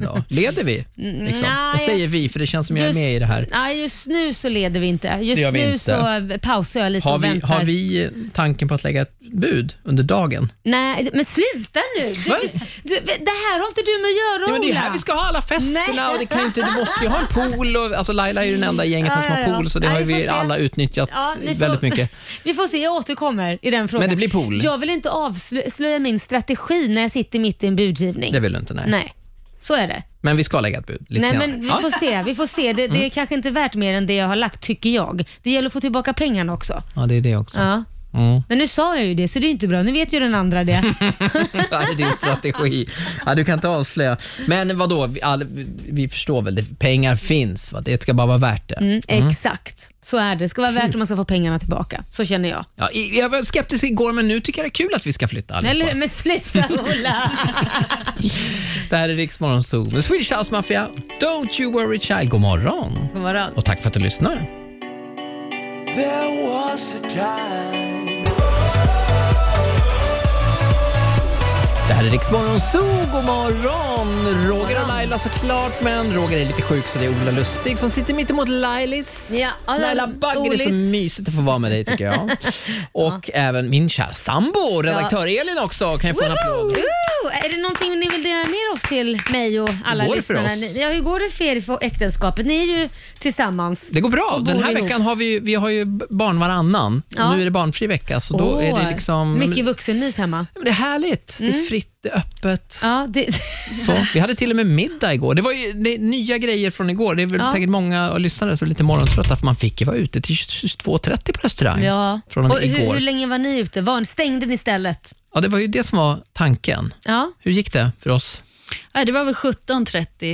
då? Leder vi? Mm, Liksom? nej. jag säger vi, för det känns som jag är med i det här. Nej, just nu så leder vi inte. Just gör vi nu inte. så pausar jag lite Har och vi, väntar. har vi tanken på att lägga ett bud under dagen? Nej, men sluta nu. Du, du, det här har inte du med att göra, Ja, men det är Ola. här vi ska ha alla festerna Nej. och det kan ju inte, du måste ju ha en pool. Och, alltså Laila är ju den enda i gänget här som Ja, har ja, ja. pool, så det Nej, har ju vi får vi se. alla utnyttjat Ja, ni får- väldigt mycket. Vi får se, jag återkommer i den frågan. Men det blir pool. Jag vill inte avslöja min strategi när jag sitter mitt i en budgivning. Det vill du inte, nej. Nej, så är det. Men vi ska lägga ett bud lite Nej, senare. men vi Ja. får se. Vi får se. Det, det är Mm. kanske inte värt mer än det jag har lagt, tycker jag. Det gäller att få tillbaka pengarna också. Ja, det är det också. Ja. Mm. Men nu sa jag ju det, så det är inte bra. Nu vet ju den andra det. Det är din strategi. Ja, du kan inte avslöja. Men vadå, vi, all, vi förstår väl, det, pengar finns. Va? Det ska bara vara värt det. Mm, Mm. Exakt, så är det. Det ska vara värt om man ska få pengarna tillbaka. Så känner jag. Ja, i- jag var skeptisk igår, men nu tycker jag det är kul att vi ska flytta allihopa. Eller hur? Men sluta Ola! Det här är Riksmorgon Zoo med Swedish House Mafia. Don't you worry child. God morgon. God morgon. Och tack för att du lyssnar. There was a time Det här är Riksmorgon Zoo. God morgon. Roger och Laila såklart, men Roger är lite sjuk så det är Ola Lustig som sitter mitt emot Lailis. Ja, Laila Bagge, det är så Olis. mysigt att få vara med dig tycker jag. Och även min kära sambo, redaktör Elin också, kan jag få en applåd? Woo! Är det någonting ni vill dela med oss till mig och alla Hur går det för lyssnare? oss? Ja, hur går det för er för äktenskapet? Ni är ju tillsammans. Det går bra. och Den bor här ihop. veckan har vi, ju- vi har ju barn varannan. Ja. Nu är det barnfri vecka, så då Åh, är det liksom... Mycket vuxenmys hemma. Mm. Men det är härligt. Det är fritt, det är öppet. Ja, det... Så, vi hade till och med middag igår. Det var ju det är nya grejer från igår. Det är väl Ja. säkert många lyssnare som är lite morgontrötta, för man fick ju vara ute till 22.30 på restaurang ja. från och med och hur, igår. hur länge var ni ute? Var, stängde ni stället? Ja, det var ju det som var tanken. Ja. Hur gick det för oss? Nej, det var väl 17.30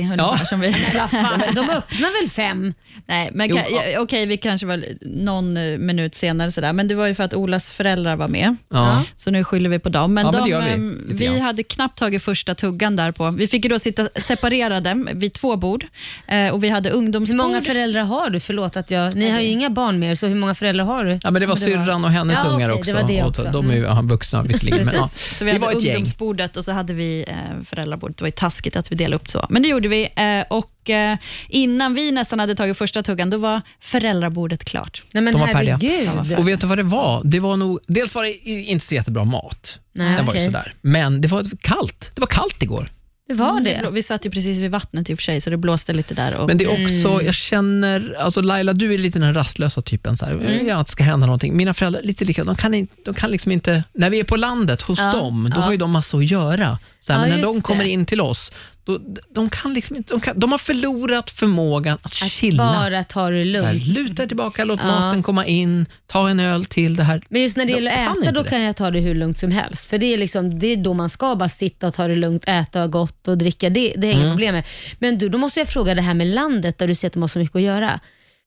ungefär Ja. som vi... Men vad fan, de öppnar väl fem? Nej, men Jo, kan, ja. ja, okej, vi kanske var någon eh, minut senare sådär, men det var ju för att Olas föräldrar var med. Ja. Så nu skyller vi på dem. Men, Ja, men de, det gör vi, ehm, lite vi grann. hade knappt tagit första tuggan där på. Vi fick ju då sitta separerade vid två bord eh, och vi hade ungdomsbord. Hur många föräldrar har du? Förlåt att jag... Ni har ju inga barn med er, så hur många föräldrar har du? Ja, men det var syrran och hennes Ja, ungar okej, också. Det var det Och också. De är ju ja, vuxna visserligen. men, ja. Mm. Precis. Så vi, hade ungdomsbordet och så hade vi eh, föräldrabordet. Det var ju taskigt att vi delade upp så, men det gjorde vi. Eh, och eh, Innan vi nästan hade tagit första tuggan, då var föräldrabordet klart. de var färdiga. Och vet du vad det var? Det var nog, dels var det i- inte så jättebra mat. Nej, Den var ju okej. sådär. Men det var kallt. Det var kallt igår. Det var det. blå- Vi satt ju precis vid vattnet i och för sig, så det blåste lite där. Och, Men det är också, Mm. jag känner, alltså Laila du är lite den här rastlösa typen. Så här. Jag vill Mm. gärna att det ska hända någonting. Mina föräldrar, lite lika, de kan, inte, de kan liksom inte, när vi är på landet hos Ja, dem, då ja. har ju de massor att göra. Så här, Ja, men när just de kommer det. in till oss, då, de kan liksom inte, de, kan, de har förlorat förmågan att, chilla. Bara ta det Så här, lugnt. luta er tillbaka, låt Ja. maten komma in, ta en öl till det här. Men just när det De gäller att kan äta, inte då det. kan jag ta det hur lugnt som helst. För Det är, liksom, det är då man ska bara sitta och ta det lugnt, äta och gott och dricka. Det, det är inga Mm. problem med. Men du, då måste jag fråga det här med landet där du säger att de har så mycket att göra.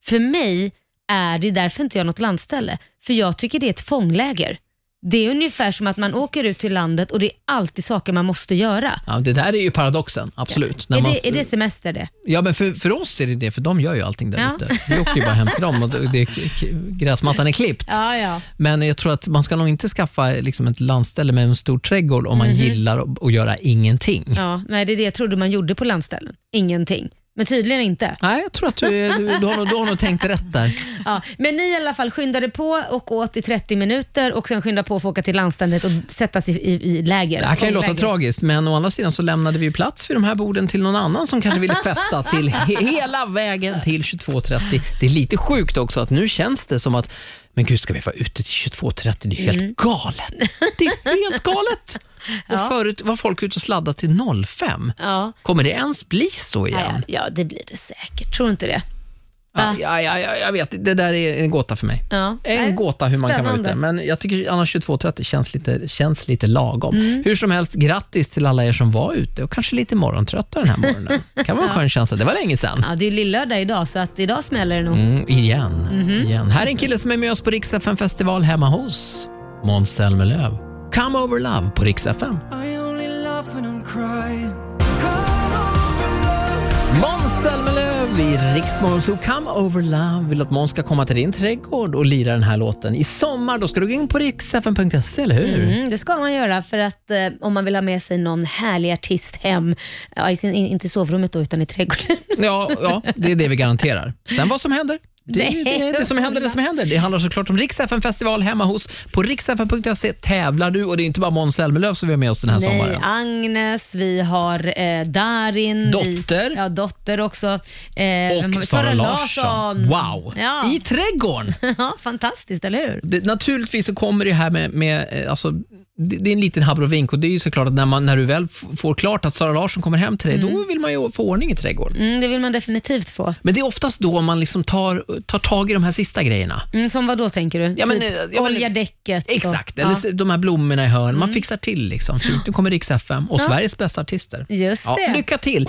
För mig är det därför inte jag har något landställe. För jag tycker det är ett fångläger. Det är ungefär som att man åker ut till landet och det är alltid saker man måste göra. Ja, det där är ju paradoxen, absolut. När Är man- det, är det semester det? Ja, men för, för oss är det det, för de gör ju allting där Ja. ute. Vi åker ju bara hem till dem och det, det, gräsmattan är klippt. Ja, ja. Men jag tror att man ska nog inte skaffa liksom ett landställe med en stor trädgård om man Mhm. gillar att, att göra ingenting. ja nej, det är det jag trodde man gjorde på landställen. Ingenting. Men tydligen inte. Nej, jag tror att du, är- du, du, har, nog, du har nog tänkt rätt där. Ja, men ni i alla fall skyndade på och åt i 30 minuter och sen skynda på för att åka till landstället och sätta sig i, i läger. Det här kan ju låta Läger. tragiskt, men å andra sidan så lämnade vi ju plats vid de här borden till någon annan som kanske ville festa till he- hela vägen till 22.30. Det är lite sjukt också att nu känns det som att, men gud ska vi vara ute till 22.30? Det är ju helt Mm. galet. Det är helt galet! Ja. Och förut var folk ute och sladdade till 05. Ja. Kommer det ens bli så igen? Ja, det blir det säkert. Tror du inte det? Ja, ja, ja, ja, jag vet, det där är en gåta för mig. Ja. En Nej. gåta hur man kan vara Spännande. ute, men jag tycker annars 22.30 känns lite, känns lite lagom. Mm. Hur som helst, grattis till alla er som var ute och kanske lite morgontrötta den här morgonen. kan vara en skön känsla, det var länge sedan. Ja, det är ju lillördag idag så att idag smäller det nog. Mm, igen. Mhm. igen. Här är en kille som är med oss på Rix FM festival hemma hos Måns Zelmerlöw. Come over love på Rix FM. Måns Zelmerlöw i Riksmorgon så Come Over Love vill att Måns ska komma till din trädgård och lira den här låten. I sommar då ska du gå in på riksfn.se, eller hur? Mm, det ska man göra för att eh, om man vill ha med sig någon härlig artist hem, ja, i sin, in- inte i sovrummet då utan i trädgården. Ja, ja, det är det vi garanterar. Sen vad som händer. Det, är- det, är det som händer, det som händer. Det handlar såklart om Riksfn festival hemma hos. På riksfn.se tävlar du och det är inte bara Måns Zelmerlöw som vi har med oss den här Nej, sommaren. Agnes, vi har eh, Darin. Dotter. Vi, ja, dotter också. Eh, vem har vi? Och Sara Larsson. Wow! Ja. I trädgården! ja, fantastiskt, eller hur? det, naturligtvis så kommer det här med, med eh, alltså, det, det är en liten habrovink och det är ju såklart att när, man, när du väl f- får klart att Sara Larsson kommer hem till dig, då vill man ju få ordning i trädgården. Mm, det vill man definitivt få. Men det är oftast då man liksom tar, tar tag i de här sista grejerna. Mm, som vad då tänker du? Ja, men, typ, eh, ja, men- olja däcket? och- Exakt, Ja. Mm. eller s- de här blommorna i hörn. Man fixar till liksom. Fint, Nu kommer Rix FM och Ja. Sveriges bästa artister. Just ja, det. Lycka till!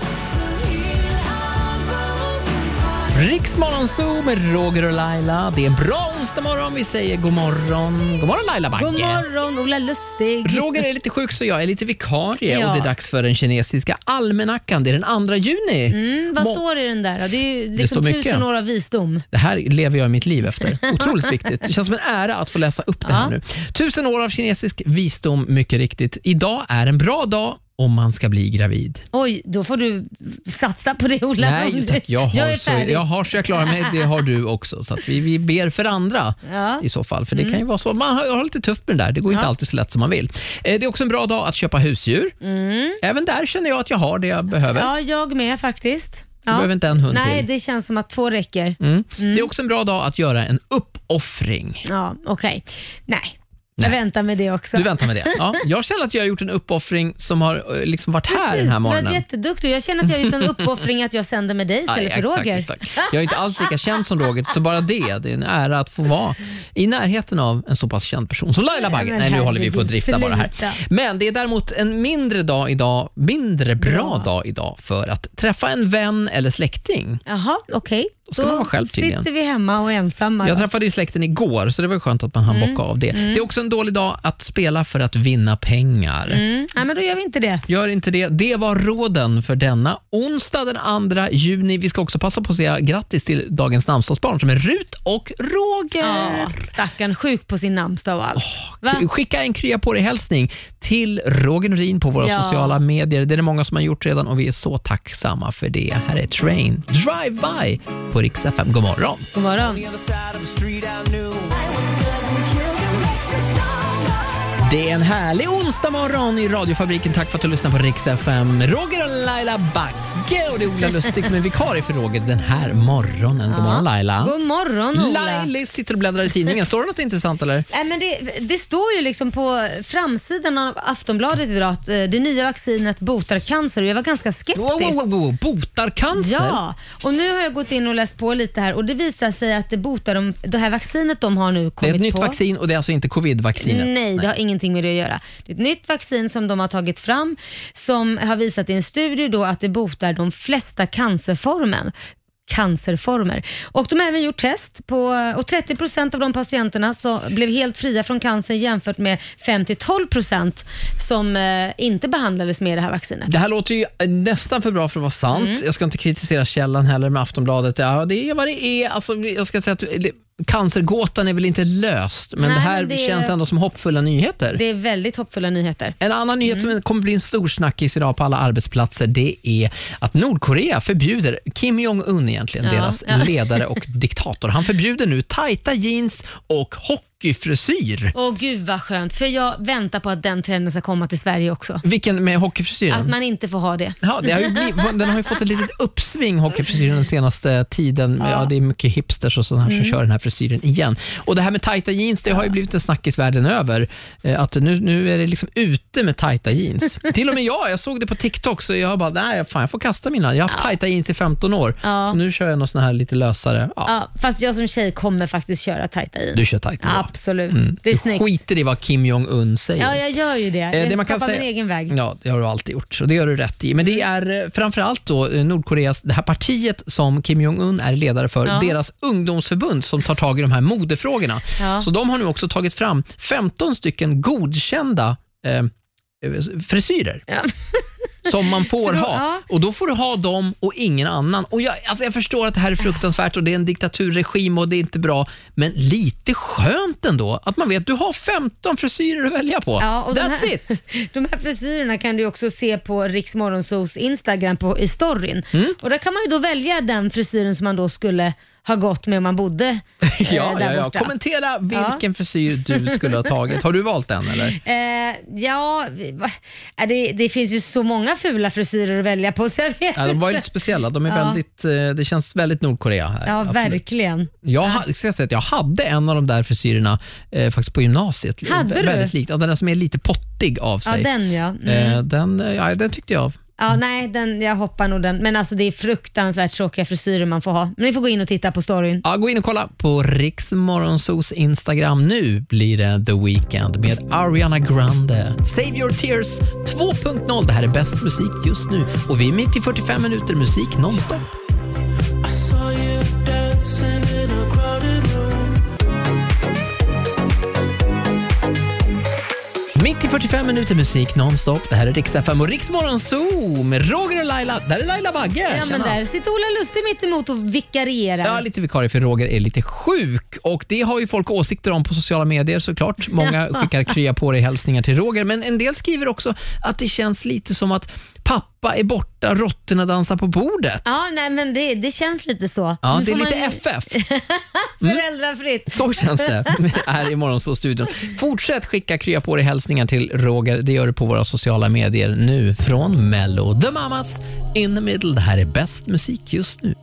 Rix Morgonzoo med Roger och Laila. Det är en bra onsdag morgon. Vi säger god morgon. God morgon Laila Bagge. God morgon, Ola Lustig. Roger är lite sjuk så jag är lite vikarie Ja. och det är dags för den kinesiska almanackan. Det är den 2 juni. Mm, vad Må- står det i den där? då? Det är ju liksom står mycket. tusen år av visdom. Det här lever jag i mitt liv efter. Otroligt viktigt. Det känns som en ära att få läsa upp det här nu. Tusen år av kinesisk visdom, mycket riktigt. Idag är en bra dag om man ska bli gravid. Oj, då får du satsa på det Ola. Om Nej du- tack, jag har, jag är så, färdig. jag har så jag klarar mig. Det har du också. Så att vi, vi ber för andra Ja. i så fall. För det Mm. kan ju vara så. Man har, har lite tufft med det där. Det går inte Ja. alltid så lätt som man vill. Eh, det är också en bra dag att köpa husdjur. Mm. Även där känner jag att jag har det jag behöver. Ja, jag med faktiskt. ja. Du behöver inte en hund Nej, till. det känns som att två räcker. Mm. Det är också en bra dag att göra en uppoffring. Ja, okej. Nej. Jag väntar med det också. Du väntar med det. Ja, jag känner att jag har gjort en uppoffring som har eh, liksom varit här Precis, den här Du morgonen. var jätteduktig. Jag känner att jag har gjort en uppoffring att jag sänder med dig istället Ja, för exakt, Roger. exakt. Jag är inte alls lika känd som Roger, så bara det. Det är en ära att få vara i närheten av en så pass känd person som Laila Bagge. men Nej, nu håller vi på att herregud, drifta bara här. sluta. Men det är däremot en mindre dag idag, mindre bra dag idag för att träffa en vän eller släkting. Jaha, okej. ska man vara själv tydligen. sitter vi hemma och är ensamma. Jag då. träffade ju släkten igår, så det var ju skönt att man hann Mm. bocka av det. Mm. Det är också en dålig dag att spela för att vinna pengar. Mm. Nej, men då gör vi inte det. Gör inte det. Det var råden för denna onsdag den 2 juni. Vi ska också passa på att säga grattis till dagens namnsdagsbarn som är Rut och Roger. Stackarn sjuk på sin namnsdag och allt. Va? Skicka en krya på dig-hälsning till Roger Norin på våra Ja. sociala medier. Det är det många som har gjort redan och vi är så tacksamma för det. Här är Train Drive-By på Rix FM. God morgon! God morgon. Det är en härlig onsdag morgon i radiofabriken. Tack för att du lyssnar på Rix FM. Roger och Laila Bagge och det är Ola Lustig som är vikarie för Roger den här morgonen. God morgon Laila. God morgon Ola. Lailis sitter och bläddrar i tidningen. Står det något intressant eller? Nej, men det, det står ju liksom på framsidan av Aftonbladet idag att eh, det nya vaccinet botar cancer och jag var ganska skeptisk. wow, wow. Botar cancer? Ja, och nu har jag gått in och läst på lite här och det visar sig att det botar de, det här vaccinet de har nu kommit på. Det är ett nytt vaccin och det är alltså inte covid-vaccinet? Nej, det har ingenting med det att göra. Det är ett nytt vaccin som de har tagit fram som har visat i en studie då att det botar de flesta cancerformen cancerformer. Och de har även gjort test på, och 30% av de patienterna så blev helt fria från cancer jämfört med 5-12% som eh, inte behandlades med det här vaccinet. Det här låter ju nästan för bra för att vara sant. Mm. Jag ska inte kritisera källan heller med Aftonbladet. Ja, det är vad det är. Alltså, jag ska säga att eller, cancergåtan är väl inte löst, men Nej, det här men det- känns ändå som hoppfulla nyheter. Det är väldigt hoppfulla nyheter. En annan nyhet som kommer bli en stor snackis idag på alla arbetsplatser, det är att Nordkorea förbjuder Kim Jong-Un egentligen, Ja, deras ja. ledare och diktator. Han förbjuder nu tajta jeans och hockeyfrisyr. Åh gud vad skönt, för jag väntar på att den trenden ska komma till Sverige också. Vilken med hockeyfrisyren? Att man inte får ha det. Ja, det har ju blivit, den har ju fått ett litet uppsving, hockeyfrisyren, den senaste tiden. Ja. det är mycket hipsters och sådana här som Mm. kör den här frisyren igen. Och Det här med tajta jeans, det har ju blivit en snackis världen över. Eh, Att nu, nu är det liksom ute med tajta jeans. Till och med jag, jag såg det på TikTok, så jag bara, nej, fan, jag får kasta mina. Jag har haft tajta jeans i 15 år. Ja. Och nu kör jag någon sån här lite lösare. Ja. Ja, fast jag som tjej kommer faktiskt köra tajta jeans. Du kör tajta bra. Absolut. Mm. Det är Du snyggt. skiter i vad Kim Jong-Un säger. Ja, jag gör ju det. Eh, Jag det man skapar kan min säga- egen väg. Ja, det har du alltid gjort, så det gör du rätt i. Men det är eh, framförallt då eh, Nordkoreas, det här partiet som Kim Jong-Un är ledare för, Ja. deras ungdomsförbund som tar tag i de här modefrågorna. Ja. Så de har nu också tagit fram 15 stycken godkända eh, eh, frisyrer. Som man Så får då- ha. ja. Och Då får du ha dem och ingen annan. Och jag, alltså jag förstår att det här är fruktansvärt och det är en diktaturregim och det är inte bra, men lite skönt ändå att man vet du har 15 frisyrer att välja på. Ja, och de That's här, it! De här frisyrerna kan du också se på Riks Morgonzos Instagram på, i storyn. Mm. Och där kan man ju då välja den frisyren som man då skulle ha gått med om man bodde eh, Ja, där ja, ja. borta. Kommentera vilken Ja. frisyr du skulle ha tagit. Har du valt den eller? Eh, ja, vi- va- eh, det, det finns ju så många fula frisyrer att välja på så jag vet Ja, de var ju lite inte. speciella. De är Ja. väldigt, eh, det känns väldigt Nordkorea här. Ja, Absolut. verkligen. Jag, ha, ska jag, säga att jag hade en av de där frisyrerna eh, faktiskt på gymnasiet. Hade Vä- du? Väldigt likt. Ja, den där som är lite pottig av Ja, sig. den ja. Mm. Eh, den, eh, ja, den tyckte jag. Ja, nej, den, jag hoppar nog den. Men alltså det är fruktansvärt tråkiga frisyrer man får ha. Men ni får gå in och titta på storyn. Ja, gå in och kolla på Riks Morgonzos Instagram. Nu blir det The Weeknd med Ariana Grande. Save your tears 2.0. Det här är bäst musik just nu och vi är mitt i 45 minuter musik nonstop. Mitt i 45 minuter musik nonstop. Det här är Rix FM och Rix Morgonzoo med Roger och Laila. Där är Laila Bagge. Ja, men Tjena. där sitter Ola Lustig mitt emot och vikarierar. Ja, lite vikarie för Roger är lite sjuk och det har ju folk åsikter om på sociala medier såklart. Många skickar krya på dig hälsningar till Roger, men en del skriver också att det känns lite som att pappa är borta, råttorna dansar på bordet. Ja, nej, men det, det känns lite så. Ja, Nu det är får lite man- FF. Föräldrafritt. Så känns det här i Morgonzoo-studion. Fortsätt skicka krya på dig hälsningar till Roger. Det gör du på våra sociala medier nu från Mello. The Mamas in the middle. Det här är bäst musik just nu.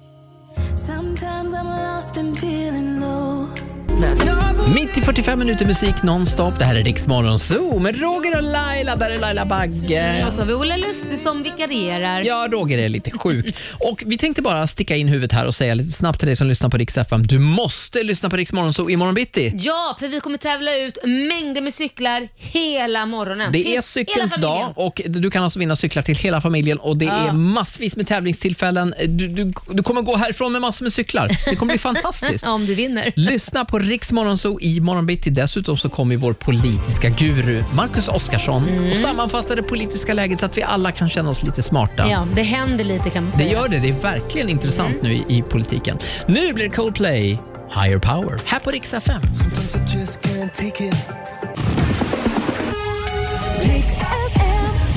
Sometimes I'm lost and feeling low. Not your Mitt i 45 minuter musik nonstop. Det här är Rix Morgon Zoo med Roger och Laila. Där är Laila Bagge. Och så har Alltså, vi Ola Lustig som vikarierar. Ja, Roger är lite sjuk. Och Vi tänkte bara sticka in huvudet här och säga lite snabbt till dig som lyssnar på Rix FM. Du måste lyssna på Rix Morgon Zoo imorgon bitti. Ja, för vi kommer tävla ut mängder med cyklar hela morgonen. Det Till är cykelns hela familjen. dag och du kan alltså vinna cyklar till hela familjen och det Ja. är massvis med tävlingstillfällen. Du, du, du kommer gå härifrån med massor med cyklar. Det kommer bli fantastiskt. Om du vinner. Lyssna på Riks Morgonzoo i morgonbitti. Dessutom så kommer vår politiska guru Marcus Oskarsson och Mm. sammanfattar det politiska läget så att vi alla kan känna oss lite smarta. Ja, Mm. det händer lite kan man Det säga. gör det. Det är verkligen intressant nu i, i politiken. Nu blir det Coldplay, Higher Power, här på Rix FM. Sometimes I just can't take it.